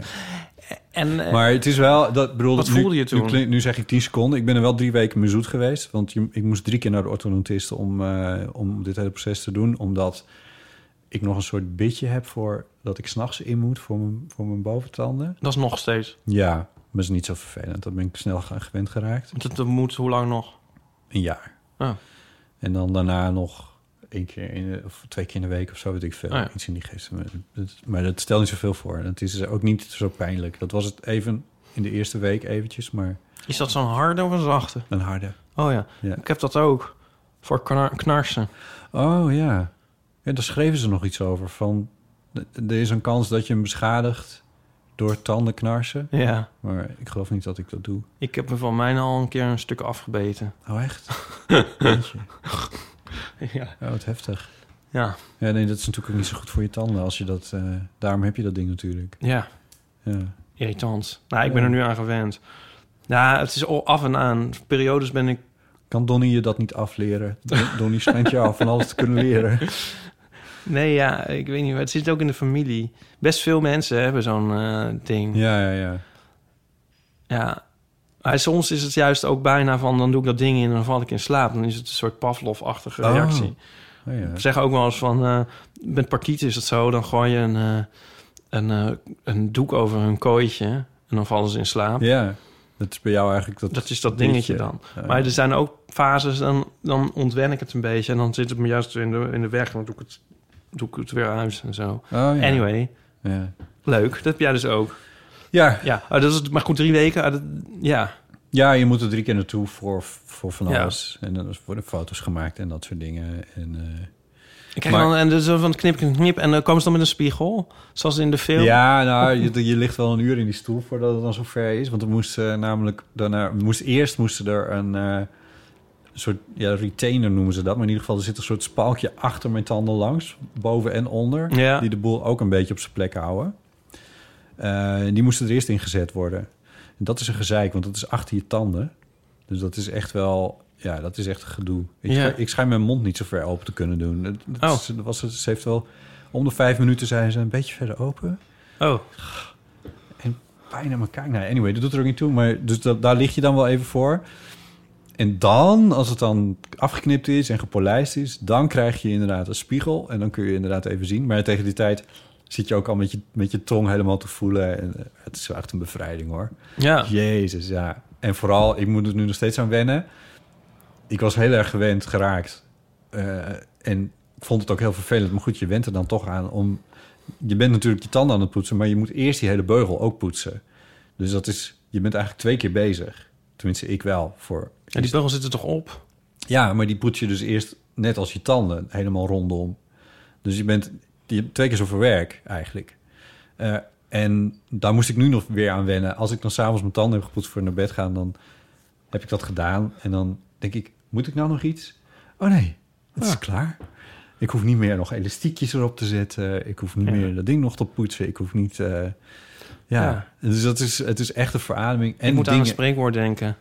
C: En eh,
D: Maar het is wel, dat bedoel
C: Wat
D: nu-
C: voelde je toen?
D: Nu, klink- nu zeg ik 10 seconden. Ik ben er wel drie weken mee zoet geweest. Want je- ik moest drie keer naar de orthodontist om, eh, om dit hele proces te doen. Omdat ik nog een soort bitje heb voor dat ik s'nachts in moet voor mijn, voor mijn boventanden.
C: dat is nog steeds.
D: Ja, maar dat is niet zo vervelend. Dat ben ik snel ge- gewend geraakt.
C: Want het moet hoe lang nog?
D: Een jaar.
C: Ah.
D: En dan daarna nog één keer in de- of twee keer in de week of zo, weet ik veel.
C: Ah, ja.
D: Iets in die geest. Maar dat, maar dat stelt niet zoveel voor. En het is ook niet zo pijnlijk. Dat was het even in de eerste week eventjes, maar
C: Is dat zo'n harde of een zachte?
D: een harde.
C: Oh ja.
D: Ja.
C: ik heb dat ook. Voor knar- knarsen.
D: Oh ja. ja. Daar schreven ze nog iets over. Van, d- er is een kans dat je hem beschadigt door tanden knarsen.
C: Ja.
D: Maar ik geloof niet dat ik dat doe.
C: Ik heb me van mijn al een keer een stuk afgebeten.
D: Oh echt? Jeetje.
C: [laughs] ja.
D: Oh, wat heftig.
C: Ja.
D: Ja, nee, dat is natuurlijk ook niet zo goed voor je tanden. Als je dat, eh, daarom heb je dat ding natuurlijk.
C: Ja.
D: Ja.
C: Irritant. Nou, ik ben er nu aan gewend. Ja, het is al af en aan. Periodes ben ik...
D: Kan Donnie je dat niet
C: [laughs]
D: afleren? Don- Donnie schijnt jou van alles te kunnen leren.
C: Nee, ja, ik weet niet. maar Het zit ook in de familie. Best veel mensen hebben zo'n eh, ding. Ja.
D: Ja, ja, ja.
C: Maar soms is het juist ook bijna van... dan doe ik dat ding in en dan val ik in slaap. Dan is het een soort Pavlov-achtige
D: Oh.
C: reactie.
D: Oh, ja.
C: Ze zeggen ook wel eens van... eh, met parkieten is het zo. Dan gooi je een, eh, een, eh, een doek over hun kooitje... en dan vallen ze in slaap.
D: ja, dat is bij jou eigenlijk dat...
C: Dat is dat dingetje dan.
D: Ja.
C: Maar er zijn ook fases, dan, dan ontwen ik het een beetje. En dan zit het me juist in de, in de weg. En dan doe ik, het, doe ik het weer uit en zo.
D: Oh, ja.
C: Anyway,
D: Ja.
C: leuk. Dat heb jij dus ook.
D: Ja.
C: Ja, ah, dat is, maar goed, drie weken. ah, dat, ja,
D: ja, je moet er drie keer naartoe voor, voor van
C: Ja.
D: alles. En dan worden foto's gemaakt en dat soort dingen. En, eh,
C: ik krijg
D: Maar-
C: dan en dus zo van knip, knip, knip. En dan komen ze dan met een spiegel. Zoals in de film.
D: Ja, nou, je, je ligt wel een uur in die stoel voordat het dan zover is. Want er moest eh, namelijk daarna... Moest, eerst moesten er een... eh, soort ja, retainer noemen ze dat. Maar in ieder geval, er zit een soort spalkje achter mijn tanden langs. Boven en onder.
C: Ja.
D: Die de boel ook een beetje op zijn plek houden. Eh, die moesten er eerst in gezet worden. En dat is een gezeik, want dat is achter je tanden. Dus dat is echt wel... Ja, dat is echt een gedoe. Ik,
C: Ja.
D: schijn- ik schijn mijn mond niet zo ver open te kunnen doen. Het, het
C: Oh.
D: is- het was, het- ze heeft wel... Om de vijf minuten zijn ze een beetje verder open.
C: Oh,
D: Bijna elkaar. Nou, anyway, dat doet er ook niet toe. Maar dus dat, daar lig je dan wel even voor. En dan, als het dan afgeknipt is en gepolijst is... dan krijg je inderdaad een spiegel. En dan kun je inderdaad even zien. Maar tegen die tijd zit je ook al met je, met je tong helemaal te voelen. En eh, het is wel echt een bevrijding, hoor.
C: ja.
D: Jezus, ja. En vooral, ik moet er nu nog steeds aan wennen. Ik was heel erg gewend geraakt. Eh, en vond het ook heel vervelend. Maar goed, je went er dan toch aan om... Je bent natuurlijk je tanden aan het poetsen... maar je moet eerst die hele beugel ook poetsen. Dus dat is... Je bent eigenlijk twee keer bezig. Tenminste, ik wel. Voor
C: En die beugel zit er toch op?
D: ja, maar die poets je dus eerst net als je tanden helemaal rondom. Dus je bent je hebt twee keer zoveel werk eigenlijk. Eh, en daar moest ik nu nog weer aan wennen. Als ik dan s'avonds mijn tanden heb gepoetst voor naar bed gaan, dan heb ik dat gedaan. En dan denk ik, moet ik nou nog iets? Oh nee, het
C: Ah.
D: is klaar. Ik hoef niet meer nog elastiekjes erop te zetten. Ik hoef niet meer dat ding nog te poetsen. Ik hoef niet... eh, ja.
C: Ja.
D: dus dat is, het is echt een verademing. En
C: Ik moet aan
D: dingen,
C: een spreekwoord denken.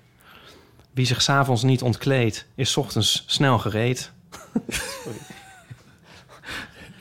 C: Wie zich s'avonds niet ontkleedt, is 's ochtends snel gereed.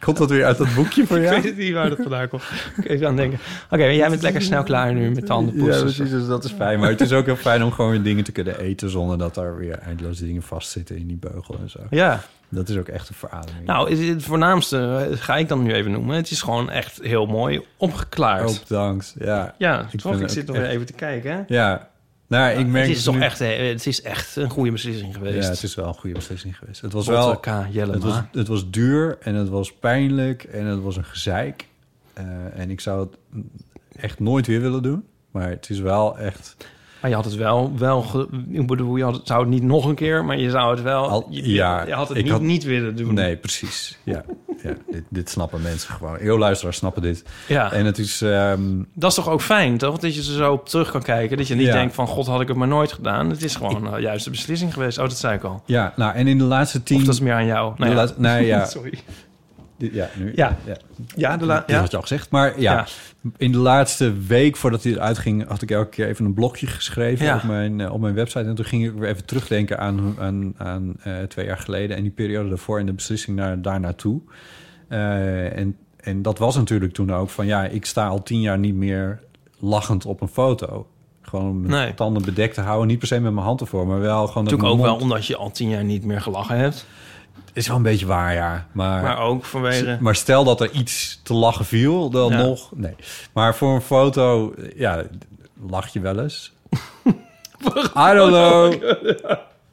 D: Komt dat weer uit dat
C: [laughs]
D: boekje voor jou?
C: Ik weet het niet waar dat vandaan komt. Ik even aan denken. Oké, maar jij bent lekker snel klaar nu met
D: Ja,
C: tandenpoetsen.
D: precies. Dus dat is fijn. Maar het is ook heel fijn om gewoon weer dingen te kunnen eten... zonder dat daar weer eindeloos dingen vastzitten in die beugel en zo.
C: Ja,
D: Dat is ook echt een verademing.
C: Nou, is het voornaamste eh, ga ik dan nu even noemen. Het is gewoon echt heel mooi opgeklaard.
D: ook bedankt. Ja,
C: Ja,
D: Oh. Ik
C: toch?
D: vind
C: Ik
D: het
C: zit nog
D: echt-
C: weer even te kijken. hè?
D: ja. Nou, ik merk
C: het, is
D: dus
C: toch
D: nu-
C: echt, eh, het is echt een goede beslissing geweest.
D: Ja, het is wel een goede beslissing geweest. Het was
C: Botte
D: wel...
C: K. Jellema.
D: Het was, het was duur en het was pijnlijk en het was een gezeik. Eh, en ik zou het echt nooit weer willen doen. Maar het is wel echt...
C: Maar je had het wel, wel ge- ik bedoel, je had het, zou het niet nog een keer, maar je zou het wel,
D: Al-
C: je,
D: ja,
C: je had het
D: ik
C: niet,
D: had-
C: niet willen doen.
D: Nee, precies. Ja, ja dit, dit snappen mensen gewoon. Heel luisteraars snappen dit.
C: Ja,
D: En het is... ehm,
C: dat is toch ook fijn, toch? Dat je er zo op terug kan kijken, dat je niet
D: Ja.
C: denkt van, god, had ik het maar nooit gedaan. Het is gewoon eh, juist de beslissing geweest. Oh, dat zei ik al.
D: ja, nou, en in de laatste tien...
C: Of dat is meer aan jou.
D: de
C: Nou ja.
D: laatste- nee, ja.
C: [laughs] Sorry.
D: Dit- ja, nu,
C: Ja.
D: ja.
C: Ja, de la-
D: Dat
C: ja.
D: had je al gezegd. Maar ja,
C: Ja.
D: in de laatste week voordat hij eruit ging... had ik elke keer even een blokje geschreven
C: Ja.
D: op, mijn, eh, op mijn website. En toen ging ik weer even terugdenken aan, aan, aan eh, twee jaar geleden... en die periode daarvoor en de beslissing naar, daar naartoe. Eh, en, en dat was natuurlijk toen ook van... ja, ik sta al tien jaar niet meer lachend op een foto. Gewoon om mijn
C: Nee.
D: tanden bedekt te houden. Niet per se met mijn hand ervoor, maar wel gewoon... dat
C: Natuurlijk ook
D: mijn
C: wel
D: mond-
C: omdat je al tien jaar niet meer gelachen hebt.
D: Is wel een beetje waar, ja.
C: Maar ook vanwege...
D: Maar stel dat er iets te lachen viel, dan
C: Ja.
D: nog. Nee. Maar voor een foto, ja, lach je wel
C: [laughs]
D: eens. I don't know.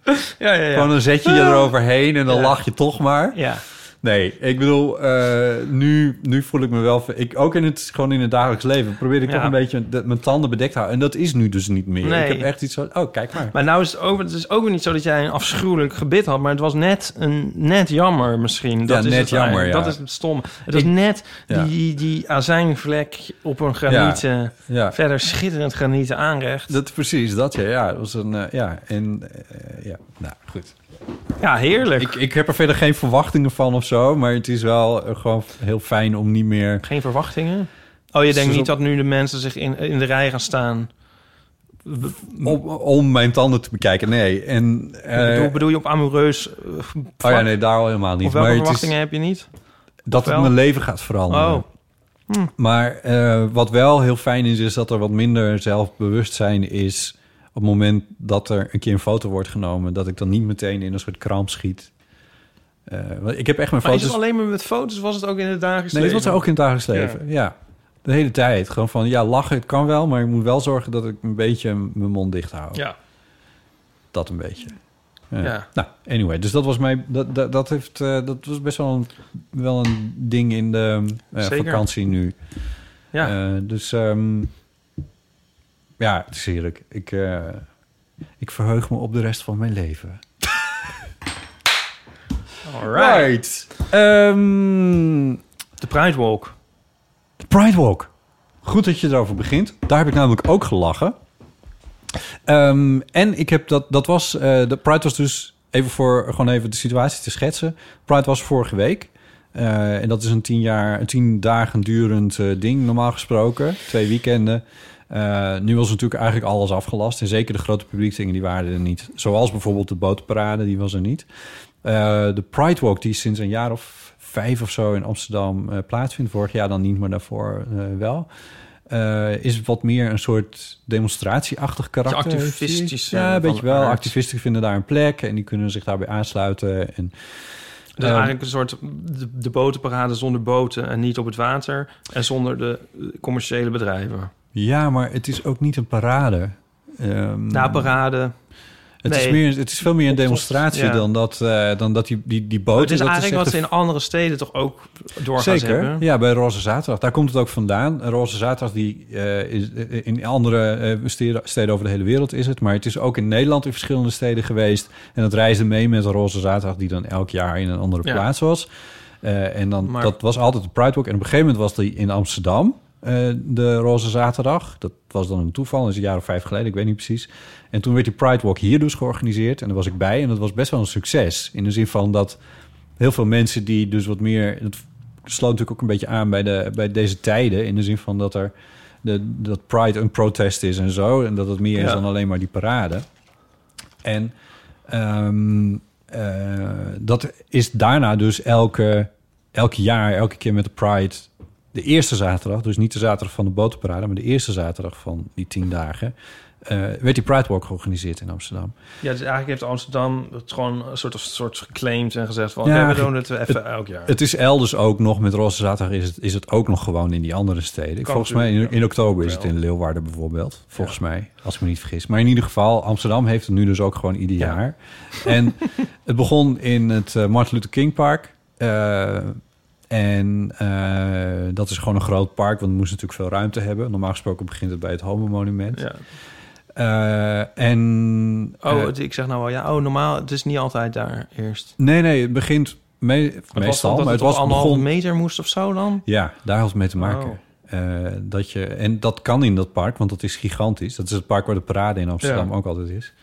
C: Ja, ja, ja.
D: Gewoon dan zet je je eroverheen en dan
C: Ja.
D: lach je toch maar.
C: Ja,
D: Nee, ik bedoel, eh, nu, nu voel ik me wel... ver- Ik, ook in het, gewoon in het dagelijks leven probeer ik
C: Ja.
D: toch een beetje dat mijn tanden bedekt te houden. En dat is nu dus niet meer.
C: Nee.
D: Ik heb echt iets van, oh, kijk maar.
C: maar nou is het ook, het is ook weer niet zo dat jij een afschuwelijk gebit had, maar het was net een net jammer misschien. Dat
D: Ja, net
C: is het eigenlijk.
D: jammer, ja.
C: Dat is het stom. Het is net
D: ja.
C: die, die azijnvlek op een granieten,
D: ja.
C: verder schitterend granieten aanrecht.
D: Dat, precies, dat ja. ja dat was een, eh, ja, en eh, ja, nou, goed.
C: Ja, heerlijk.
D: Ik, ik heb er verder geen verwachtingen van of zo, maar het is wel eh, gewoon heel fijn om niet meer.
C: Geen verwachtingen. Oh, je
D: Dus
C: denkt
D: op-
C: niet dat nu de mensen zich in, in de rij gaan staan.
D: Om, om mijn tanden te bekijken. Nee. En. eh,
C: bedoel, bedoel je op amoureus? eh,
D: oh ja, nee, daar al helemaal niet.
C: of welke
D: maar het
C: verwachtingen
D: is
C: heb je niet?
D: dat het
C: wel?
D: mijn leven gaat veranderen.
C: Oh,
D: Maar eh, wat wel heel fijn is, is dat er wat minder zelfbewustzijn is. Op het moment dat er een keer een foto wordt genomen, dat ik dan niet meteen in een soort kramp schiet. Eh, want ik heb echt mijn
C: maar is
D: foto's.
C: het alleen maar met foto's? Was het ook in de dagelijks
D: Nee, dat was
C: leven?
D: er ook in het dagelijks leven. Ja. De hele tijd. Gewoon van, ja, lachen, het kan wel... maar ik moet wel zorgen dat ik een beetje mijn mond dicht hou.
C: Ja.
D: Dat een beetje.
C: Ja.
D: Nou, anyway. Dus dat was mij... Dat, dat, dat, heeft, eh, dat was best wel een, wel een ding in de eh,
C: Zeker.
D: vakantie nu.
C: Ja.
D: Eh, dus ehm, ja, het is heerlijk. Ik, eh, ik verheug me op de rest van mijn
C: [laughs]
D: leven.
C: Alright.
D: Ehm,
C: De Pride Walk.
D: Pride Walk. Goed dat je erover begint. Daar heb ik namelijk ook gelachen. Ehm, en ik heb dat, dat was, eh, de Pride was dus, even voor gewoon even de situatie te schetsen. Pride was vorige week. Eh, en dat is een tien, jaar, een tien dagen durend eh, ding, normaal gesproken. Twee weekenden. Eh, nu was natuurlijk eigenlijk alles afgelast. En zeker de grote publiekdingen, die waren er niet. Zoals bijvoorbeeld de bootparade, die was er niet. Eh, de Pride Walk, die sinds een jaar of vijf of zo in Amsterdam eh, plaatsvindt. Vorig jaar dan niet, maar daarvoor eh, wel. Eh, is wat meer een soort demonstratieachtig karakter. heeft die.
C: activistisch, eh,
D: Ja, een
C: van
D: beetje wel.
C: aard.
D: Activisten vinden daar een plek en die kunnen zich daarbij aansluiten. En
C: Dat is
D: Ehm,
C: eigenlijk een soort de, de botenparade zonder boten en niet op het water en zonder de eh, commerciële bedrijven.
D: ja, maar het is ook niet een parade. Ehm,
C: Na Nou, parade.
D: het, is
C: nee.
D: meer, het is veel meer een demonstratie
C: Ja.
D: dan, dat, eh, dan dat die, die, die boten...
C: het is
D: dat
C: eigenlijk
D: echt
C: wat ze
D: een
C: in andere steden toch ook doorgaans
D: Zeker,
C: hebben.
D: ja, bij Roze Zaterdag. Daar komt het ook vandaan. Roze Zaterdag die, eh, is, in andere eh, steden- steden over de hele wereld is het. Maar het is ook in Nederland in verschillende steden geweest. En dat reisde mee met Roze Zaterdag... die dan elk jaar in een andere
C: Ja.
D: plaats was. Eh, en dan,
C: Maar-
D: dat was altijd de Pride Walk. En op een gegeven moment was die in Amsterdam... eh, de Roze Zaterdag. Dat was dan een toeval. Dat is een jaar of vijf geleden. Ik weet niet precies. En toen werd die Pride Walk hier dus georganiseerd. En daar was ik bij. En dat was best wel een succes. In de zin van dat heel veel mensen die dus wat meer... Dat sloot natuurlijk ook een beetje aan bij, de, bij deze tijden. In de zin van dat er... De, dat Pride een protest is en zo. En dat het meer is
C: Ja.
D: dan alleen maar die parade. En ehm, eh, dat is daarna dus elke, elk jaar, elke keer met de Pride... de eerste zaterdag, dus niet de zaterdag van de botenparade... maar de eerste zaterdag van die tien dagen... eh, werd die Pride Walk georganiseerd in Amsterdam.
C: Ja, dus eigenlijk heeft Amsterdam het gewoon een soort, soort geclaimd en gezegd van...
D: Ja,
C: oké, we
D: ge-
C: doen het even elk jaar.
D: Het is elders ook nog, met Rosse Zaterdag is het, is het ook nog gewoon in die andere steden. volgens mij in,
C: natuurlijk, ja.
D: in oktober is het
C: Wel.
D: in Leeuwarden bijvoorbeeld. Volgens mij, als ik me niet vergis. Maar in ieder geval, Amsterdam heeft het nu dus ook gewoon ieder
C: Ja.
D: jaar.
C: [laughs]
D: En het begon in het eh, Martin Luther King Park. Eh, en eh, dat is gewoon een groot park, want het moest natuurlijk veel ruimte hebben. Normaal gesproken begint het bij het Homo Monument.
C: ja.
D: Eh, en,
C: Oh,
D: eh,
C: het- ik zeg nou wel, ja, oh, normaal, het is niet altijd daar eerst.
D: nee, nee, het begint me-
C: Het was
D: meestal,
C: omdat
D: maar het
C: op
D: was
C: anderhalve
D: begon
C: meter moest of zo dan?
D: Ja, daar had het mee te maken.
C: Oh.
D: Eh, dat je, en dat kan in dat park, want dat is gigantisch. Dat is het park waar de parade in Amsterdam
C: Ja.
D: ook altijd is.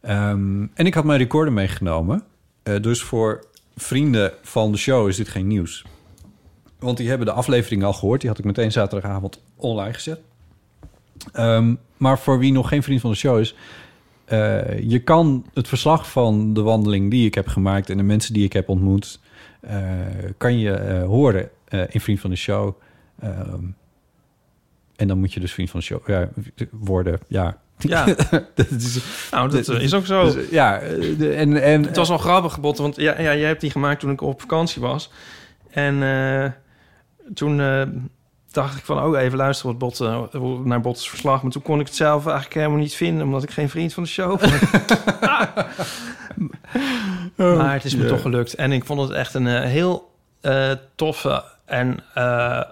D: Ehm, en ik had mijn recorder meegenomen. Eh, dus voor vrienden van de show is dit geen nieuws. Want die hebben de aflevering al gehoord. Die had ik meteen zaterdagavond online gezet. Ehm, maar voor wie nog geen vriend van de show is... eh, je kan het verslag van de wandeling die ik heb gemaakt... en de mensen die ik heb ontmoet... eh, kan je eh, horen eh, in Vriend van de Show. Ehm, en dan moet je dus Vriend van de Show ja, worden. Ja, [laughs]
C: Ja,
D: dat is,
C: nou, dat
D: Dit-
C: eh, is ook zo.
D: dus, ja, eh, de- en, en,
C: Het was wel grappig, Bot, want ja, ja, jij hebt die gemaakt toen ik op vakantie was. En eh, toen eh, dacht ik van, oh, even luisteren wat Bot, eh, hoe- naar Bots verslag. Maar toen kon ik het zelf eigenlijk helemaal niet vinden, omdat ik geen vriend van de show ben. maar het is me toch gelukt. En ik vond het echt een eh, heel eh, toffe en eh,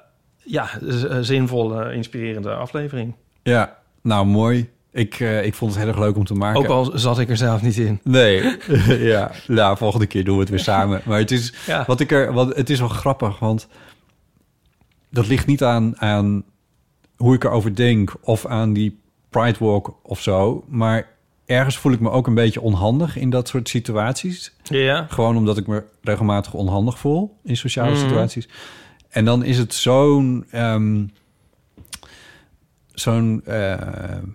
C: ja, z- eh, zinvolle, inspirerende aflevering.
D: Ja, nou mooi. Ik, eh, ik vond het heel erg leuk om te maken.
C: Ook al zat ik er zelf niet in.
D: Nee, [laughs] ja. Nou, volgende keer doen we het weer samen. Maar het is,
C: [laughs] Ja.
D: wat ik er, wat, het is wel grappig, want dat ligt niet aan, aan hoe ik erover denk of aan die Pride Walk of zo. Maar ergens voel ik me ook een beetje onhandig in dat soort situaties.
C: Ja,
D: Gewoon omdat ik me regelmatig onhandig voel in sociale
C: Mhm.
D: situaties. En dan is het zo'n. ehm, zo'n. eh,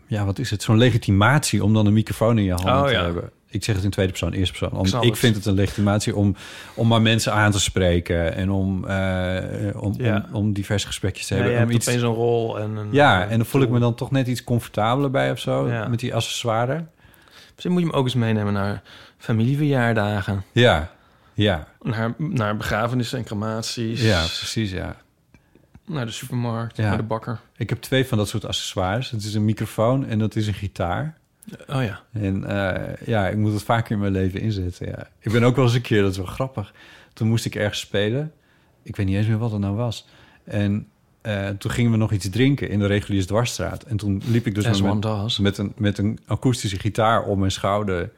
D: ja, wat is het? Zo'n legitimatie om dan een microfoon in je handen
C: Oh,
D: te
C: ja.
D: hebben. Ik zeg het in tweede persoon, eerste persoon. Om-
C: snap
D: ik
C: het.
D: vind het een legitimatie om, om maar mensen aan te spreken. En om, eh, eh, om,
C: Ja.
D: om, om diverse gesprekjes te
C: ja je
D: hebben. om
C: hebt opeens een rol. En een,
D: ja,
C: eh,
D: en dan voel ik
C: tool.
D: me dan toch net iets comfortabeler bij of zo.
C: Ja.
D: Met die accessoires.
C: Misschien moet je hem ook eens meenemen naar familieverjaardagen.
D: Ja, ja,
C: Naar, naar begrafenissen en crematies.
D: ja, precies, ja.
C: Naar de supermarkt,
D: Ja.
C: naar de bakker.
D: Ik heb twee van dat soort accessoires. Het is een microfoon en dat is een gitaar.
C: Oh ja.
D: En eh, ja, ik moet het vaker in mijn leven inzetten. Ja. Ik ben ook wel eens een keer, dat is wel grappig. Toen moest ik ergens spelen. Ik weet niet eens meer wat het nou was. En eh, toen gingen we nog iets drinken in de reguliers dwarsstraat. En toen liep ik dus
C: As
D: met,
C: one does.
D: met, een, met een akoestische gitaar om mijn schouder...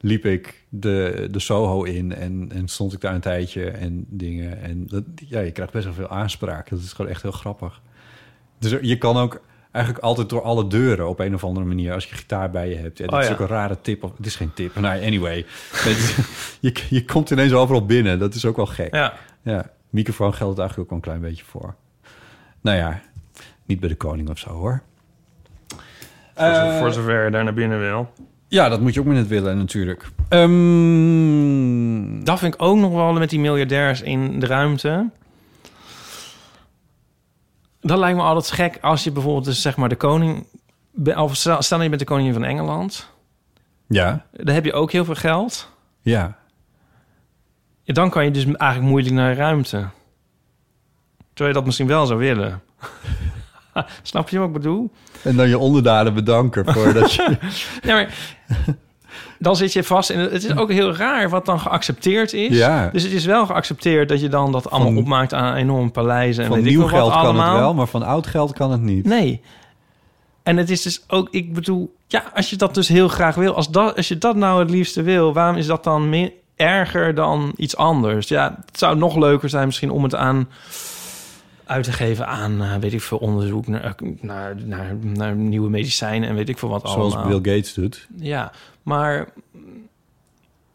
D: liep ik de, de Soho in en, en stond ik daar een tijdje en dingen. En dat, ja, je krijgt best wel veel aanspraak. Dat is gewoon echt heel grappig. Dus er- je kan ook eigenlijk altijd door alle deuren op een of andere manier als je gitaar bij je hebt. Ja, dat
C: Oh
D: is
C: ja.
D: ook een rare tip. Of, het is geen tip. Nou, anyway. Het- je, [laughs] je komt ineens overal binnen. Dat is ook wel gek.
C: Ja.
D: Ja, microfoon geldt het eigenlijk ook wel een klein beetje voor. Nou ja, niet bij de koning of zo hoor.
C: Voor, zo- voor zover je daar naar binnen wil.
D: Ja, dat moet je ook met het willen natuurlijk. Ehm,
C: Dat vind ik ook nog wel met die miljardairs in de ruimte. Dat lijkt me altijd gek als je bijvoorbeeld dus zeg maar de koning... be- Of stel stel dat je bent de koningin van Engeland.
D: ja,
C: Dan heb je ook heel veel geld.
D: ja.
C: Ja, dan kan je dus eigenlijk moeilijk naar ruimte. Terwijl je dat misschien wel zou willen. [laughs] Snap je wat ik bedoel?
D: En dan je onderdanen bedanken voor dat
C: [laughs]
D: je... [laughs]
C: Ja, maar dan zit je vast. En het is ook heel raar wat dan geaccepteerd is.
D: Ja.
C: Dus het is wel geaccepteerd dat je dan dat allemaal
D: Van-
C: opmaakt aan enorm paleizen. En
D: Van
C: weet
D: nieuw
C: ik nog
D: geld
C: wat
D: kan
C: allemaal.
D: het wel, maar van oud geld kan het niet.
C: Nee. En het is dus ook, ik bedoel, ja, als je dat dus heel graag wil, als, dat, als je dat nou het liefste wil, waarom is dat dan meer erger dan iets anders? Ja, het zou nog leuker zijn misschien om het aan uit te geven aan, eh, weet ik veel, onderzoek naar, eh, naar, naar, naar nieuwe medicijnen en weet ik veel wat
D: Zoals
C: Nou, allemaal.
D: Bill Gates doet.
C: Ja, maar.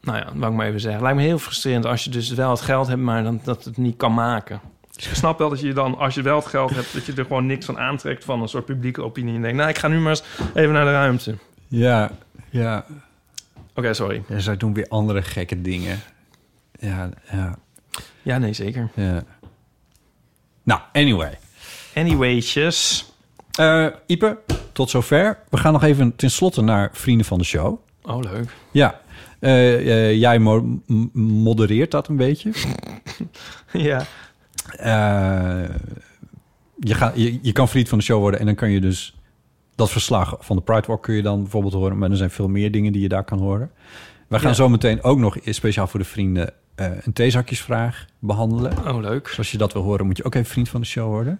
C: Nou ja, wou ik maar even zeggen. Lijkt me heel frustrerend als je dus wel het geld hebt, maar dan dat het niet kan maken. Dus ik snap wel dat je dan, als je wel het geld hebt, dat je er gewoon niks van aantrekt van een soort publieke opinie. En denkt, nou, ik ga nu maar eens even naar de ruimte. Oké,
D: Ja, ja.
C: sorry.
D: En zij doen weer andere gekke dingen. Ja, ja,
C: Ja, nee, zeker.
D: ja. Nou, anyway.
C: Anyways.
D: Eh Ipe, tot zover. We gaan nog even tenslotte naar vrienden van de show.
C: Oh, leuk.
D: Ja, eh, eh, jij mo- m- modereert dat een beetje.
C: [laughs] ja.
D: Eh, je, gaat, je, je kan vriend van de show worden en dan kan je dus dat verslag van de Pride Walk kun je dan bijvoorbeeld horen. Maar er zijn veel meer dingen die je daar kan horen. We gaan
C: Ja.
D: zo meteen ook nog speciaal voor de vrienden eh, een theezakjesvraag behandelen.
C: Oh, leuk.
D: Dus als je dat wil horen, moet je ook even vriend van de show worden.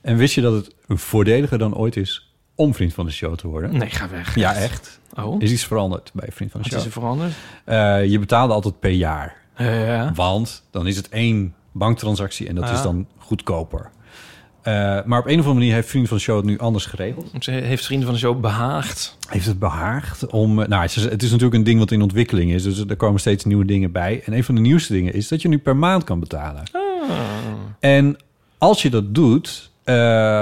D: En wist je dat het voordeliger dan ooit is om vriend van de show te worden?
C: Nee, ga weg.
D: Ja, echt.
C: Mm. Oh,
D: Is iets veranderd bij vriend van de
C: wat is
D: show?
C: er veranderd?
D: Eh, je betaalde altijd per jaar.
C: Eh, ja.
D: Want dan is het één banktransactie en dat
C: Ah.
D: is dan goedkoper. Eh, maar op een of andere manier heeft Vriend van de Show het nu anders geregeld.
C: Ze heeft vrienden van de show behaagd.
D: Heeft het behaagd om... eh, Nou, het is, het is natuurlijk een ding wat in ontwikkeling is. Dus er komen steeds nieuwe dingen bij. En een van de nieuwste dingen is dat je nu per maand kan betalen.
C: Ah.
D: En als je dat doet,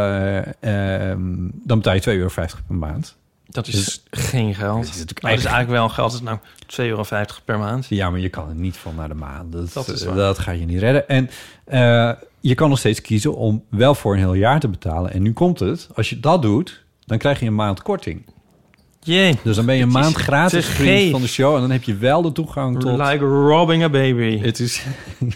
D: eh, ehm, dan betaal je 2,50 euro per maand.
C: Dat is
D: Dus-
C: geen geld.
D: Dat is natuurlijk
C: Maar dat
D: eigenlijk-
C: is eigenlijk wel geld. Het is nou 2,50 euro per maand.
D: Ja, maar je kan er niet van naar de maan. Dat, eh,
C: Dat
D: dat,
C: is waar.
D: ga je niet redden. En eh, je kan nog steeds kiezen om wel voor een heel jaar te betalen. En nu komt het. Als je dat doet, dan krijg je een maand korting.
C: Jee.
D: Dus dan ben je een
C: Het is
D: maand gratis
C: te
D: vriend
C: geef.
D: van de show. En dan heb je wel de toegang tot...
C: Like robbing a baby.
D: Het is [laughs] een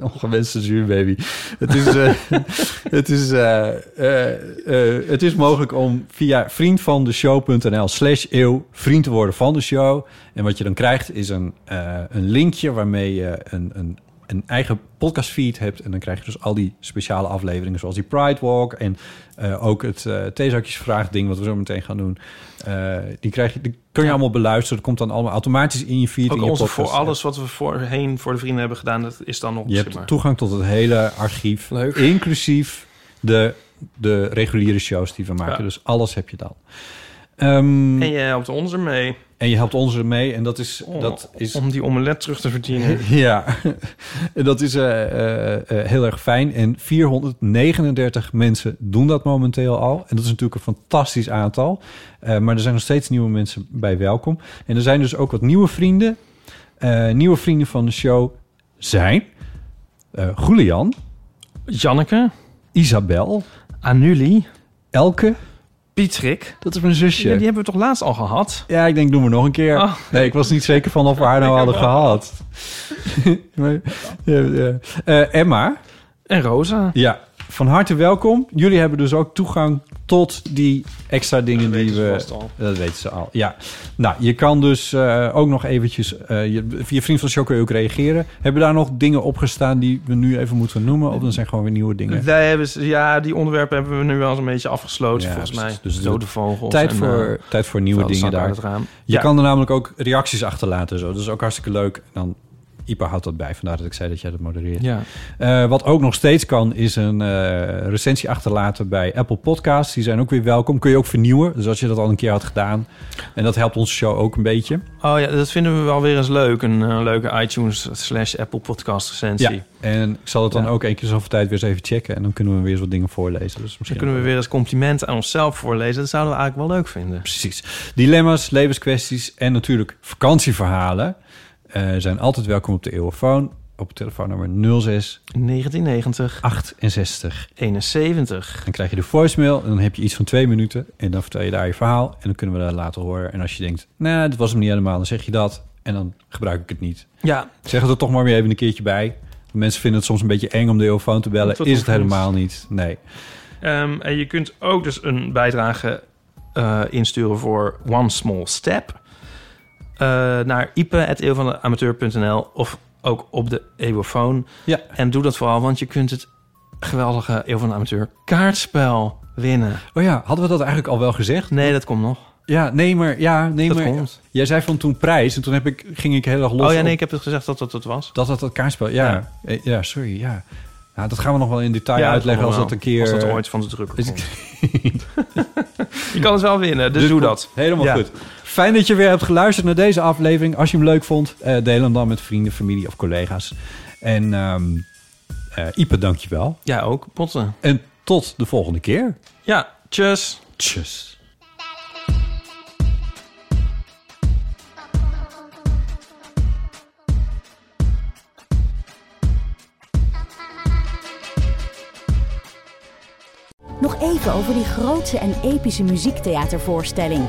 D: ongewenste zuurbaby. Het is, eh, [laughs] het, is, eh, eh, eh, het is mogelijk om via vriendvandeshow.nl slash eeuw vriend te worden van de show. En wat je dan krijgt is een, eh, een linkje waarmee je een, een, een eigen podcastfeed hebt. En dan krijg je dus al die speciale afleveringen zoals die Pride Walk en eh, ook het eh theezakjesvraag ding wat we zo meteen gaan doen. Eh, die, krijg je, die kun je allemaal beluisteren. Dat komt dan allemaal automatisch in je feed.
C: Ook
D: in je
C: onze voor
D: podcast-app.
C: alles wat we voorheen voor de vrienden hebben gedaan, dat is dan nog
D: Je
C: zeg maar.
D: hebt toegang tot het hele archief.
C: Leuk.
D: Inclusief de, de reguliere shows die we maken.
C: Ja.
D: Dus alles heb je dan. Ehm,
C: En jij helpt ons ermee
D: en je helpt ons ermee. En dat is...
C: om,
D: dat is [laughs]
C: om die omelet terug te verdienen.
D: ja, [laughs] En dat is eh, eh, eh, heel erg fijn. En 439 mensen doen dat momenteel al. En dat is natuurlijk een fantastisch aantal. Eh, maar er zijn nog steeds nieuwe mensen bij welkom. En er zijn dus ook wat nieuwe vrienden. Eh, nieuwe vrienden van de show zijn... eh Julian,
C: Janneke,
D: Isabel,
C: Anuli,
D: Elke.
C: Pietrik.
D: Dat is mijn zusje.
C: Ja, die hebben we toch laatst al gehad?
D: Ja, ik denk, doen we nog een keer.
C: Oh.
D: Nee, ik was niet zeker van of we haar nou hadden gehad. [laughs] Maar, ja, ja. Eh, Emma,
C: En Rosa.
D: ja, van harte welkom. Jullie hebben dus ook toegang tot die extra dingen die
C: weten ze
D: we...
C: vast al.
D: Dat weten ze al, ja. Nou, je kan dus eh, ook nog eventjes... eh, je, via Vriend van de Show kun je ook reageren. Hebben daar nog dingen opgestaan die we nu even moeten noemen? Of dan zijn gewoon weer nieuwe dingen?
C: Wij hebben, ze- ja, die onderwerpen hebben we nu wel eens een beetje afgesloten,
D: Ja,
C: volgens
D: precies.
C: mij.
D: Dus
C: Dus
D: het
C: dode vogels.
D: Tijd
C: en, eh,
D: voor, tijd voor nieuwe dingen
C: vuilniszakken
D: daar.
C: uit het raam.
D: Je
C: Ja.
D: kan er namelijk ook reacties achterlaten. Zo. Dat is ook hartstikke leuk. En dan, Ipa houdt dat bij. Vandaar dat ik zei dat jij dat modereert.
C: Ja.
D: Eh, wat ook nog steeds kan, is een eh, recensie achterlaten bij Apple Podcasts. Die zijn ook weer welkom. Kun je ook vernieuwen. Dus als je dat al een keer had gedaan. En dat helpt onze show ook een beetje.
C: Oh ja, dat vinden we wel weer eens leuk. Een eh, leuke iTunes slash Apple podcast recensie.
D: Ja. En ik zal het dan
C: Ja.
D: ook één keer zoveel tijd weer eens even checken. En dan kunnen we weer eens wat dingen voorlezen. Dus
C: Dan
D: misschien
C: kunnen we weer eens complimenten aan onszelf voorlezen. Dat zouden we eigenlijk wel leuk vinden.
D: Precies. Dilemma's, levenskwesties en natuurlijk vakantieverhalen eh, zijn altijd welkom op de eeuwofoon. Op telefoonnummer 06
C: 1990,
D: 68.
C: 71.
D: Dan krijg je de voicemail en dan heb je iets van twee minuten. En dan vertel je daar je verhaal en dan kunnen we dat laten horen. En als je denkt, nou, dat was hem niet helemaal, dan zeg je dat. En dan gebruik ik het niet.
C: Ja,
D: Zeg het er toch maar weer even een keertje bij. Mensen vinden het soms een beetje eng om de eeuwofoon te bellen.
C: Tot
D: Is het
C: ons.
D: helemaal niet. Nee.
C: ehm, en je kunt ook dus een bijdrage eh, insturen voor One Small Step. eh, naar ipe.eeuwvandeamateur.nl of ook op de eeuwofoon.
D: Ja.
C: En doe dat vooral, want je kunt het geweldige Eeuw van de Amateur kaartspel winnen.
D: Oh ja, hadden we dat eigenlijk al wel gezegd?
C: Nee, dat komt nog.
D: Ja, nee, maar... Ja, nee,
C: Dat
D: maar
C: komt.
D: Jij zei van toen prijs en toen heb ik, ging ik heel erg los
C: Oh ja,
D: op-
C: nee, ik heb het gezegd dat dat het was.
D: Dat dat dat kaartspel, ja. Eh, Ja, sorry, ja. Nou, dat gaan we nog wel in detail uitleggen als dat een keer...
C: Als dat ooit van de drukker
D: Is-
C: komt. Je kan het wel winnen, dus, doe dat.
D: Helemaal
C: Ja.
D: goed. Fijn dat je weer hebt geluisterd naar deze aflevering. Als je hem leuk vond, eh, deel hem dan met vrienden, familie of collega's. En ehm eh Ipe, dankjewel.
C: Ja, ook. Potten.
D: En tot de volgende keer.
C: Ja, tjus.
D: Tjus.
A: Nog nog even over die grootse en epische muziektheatervoorstelling.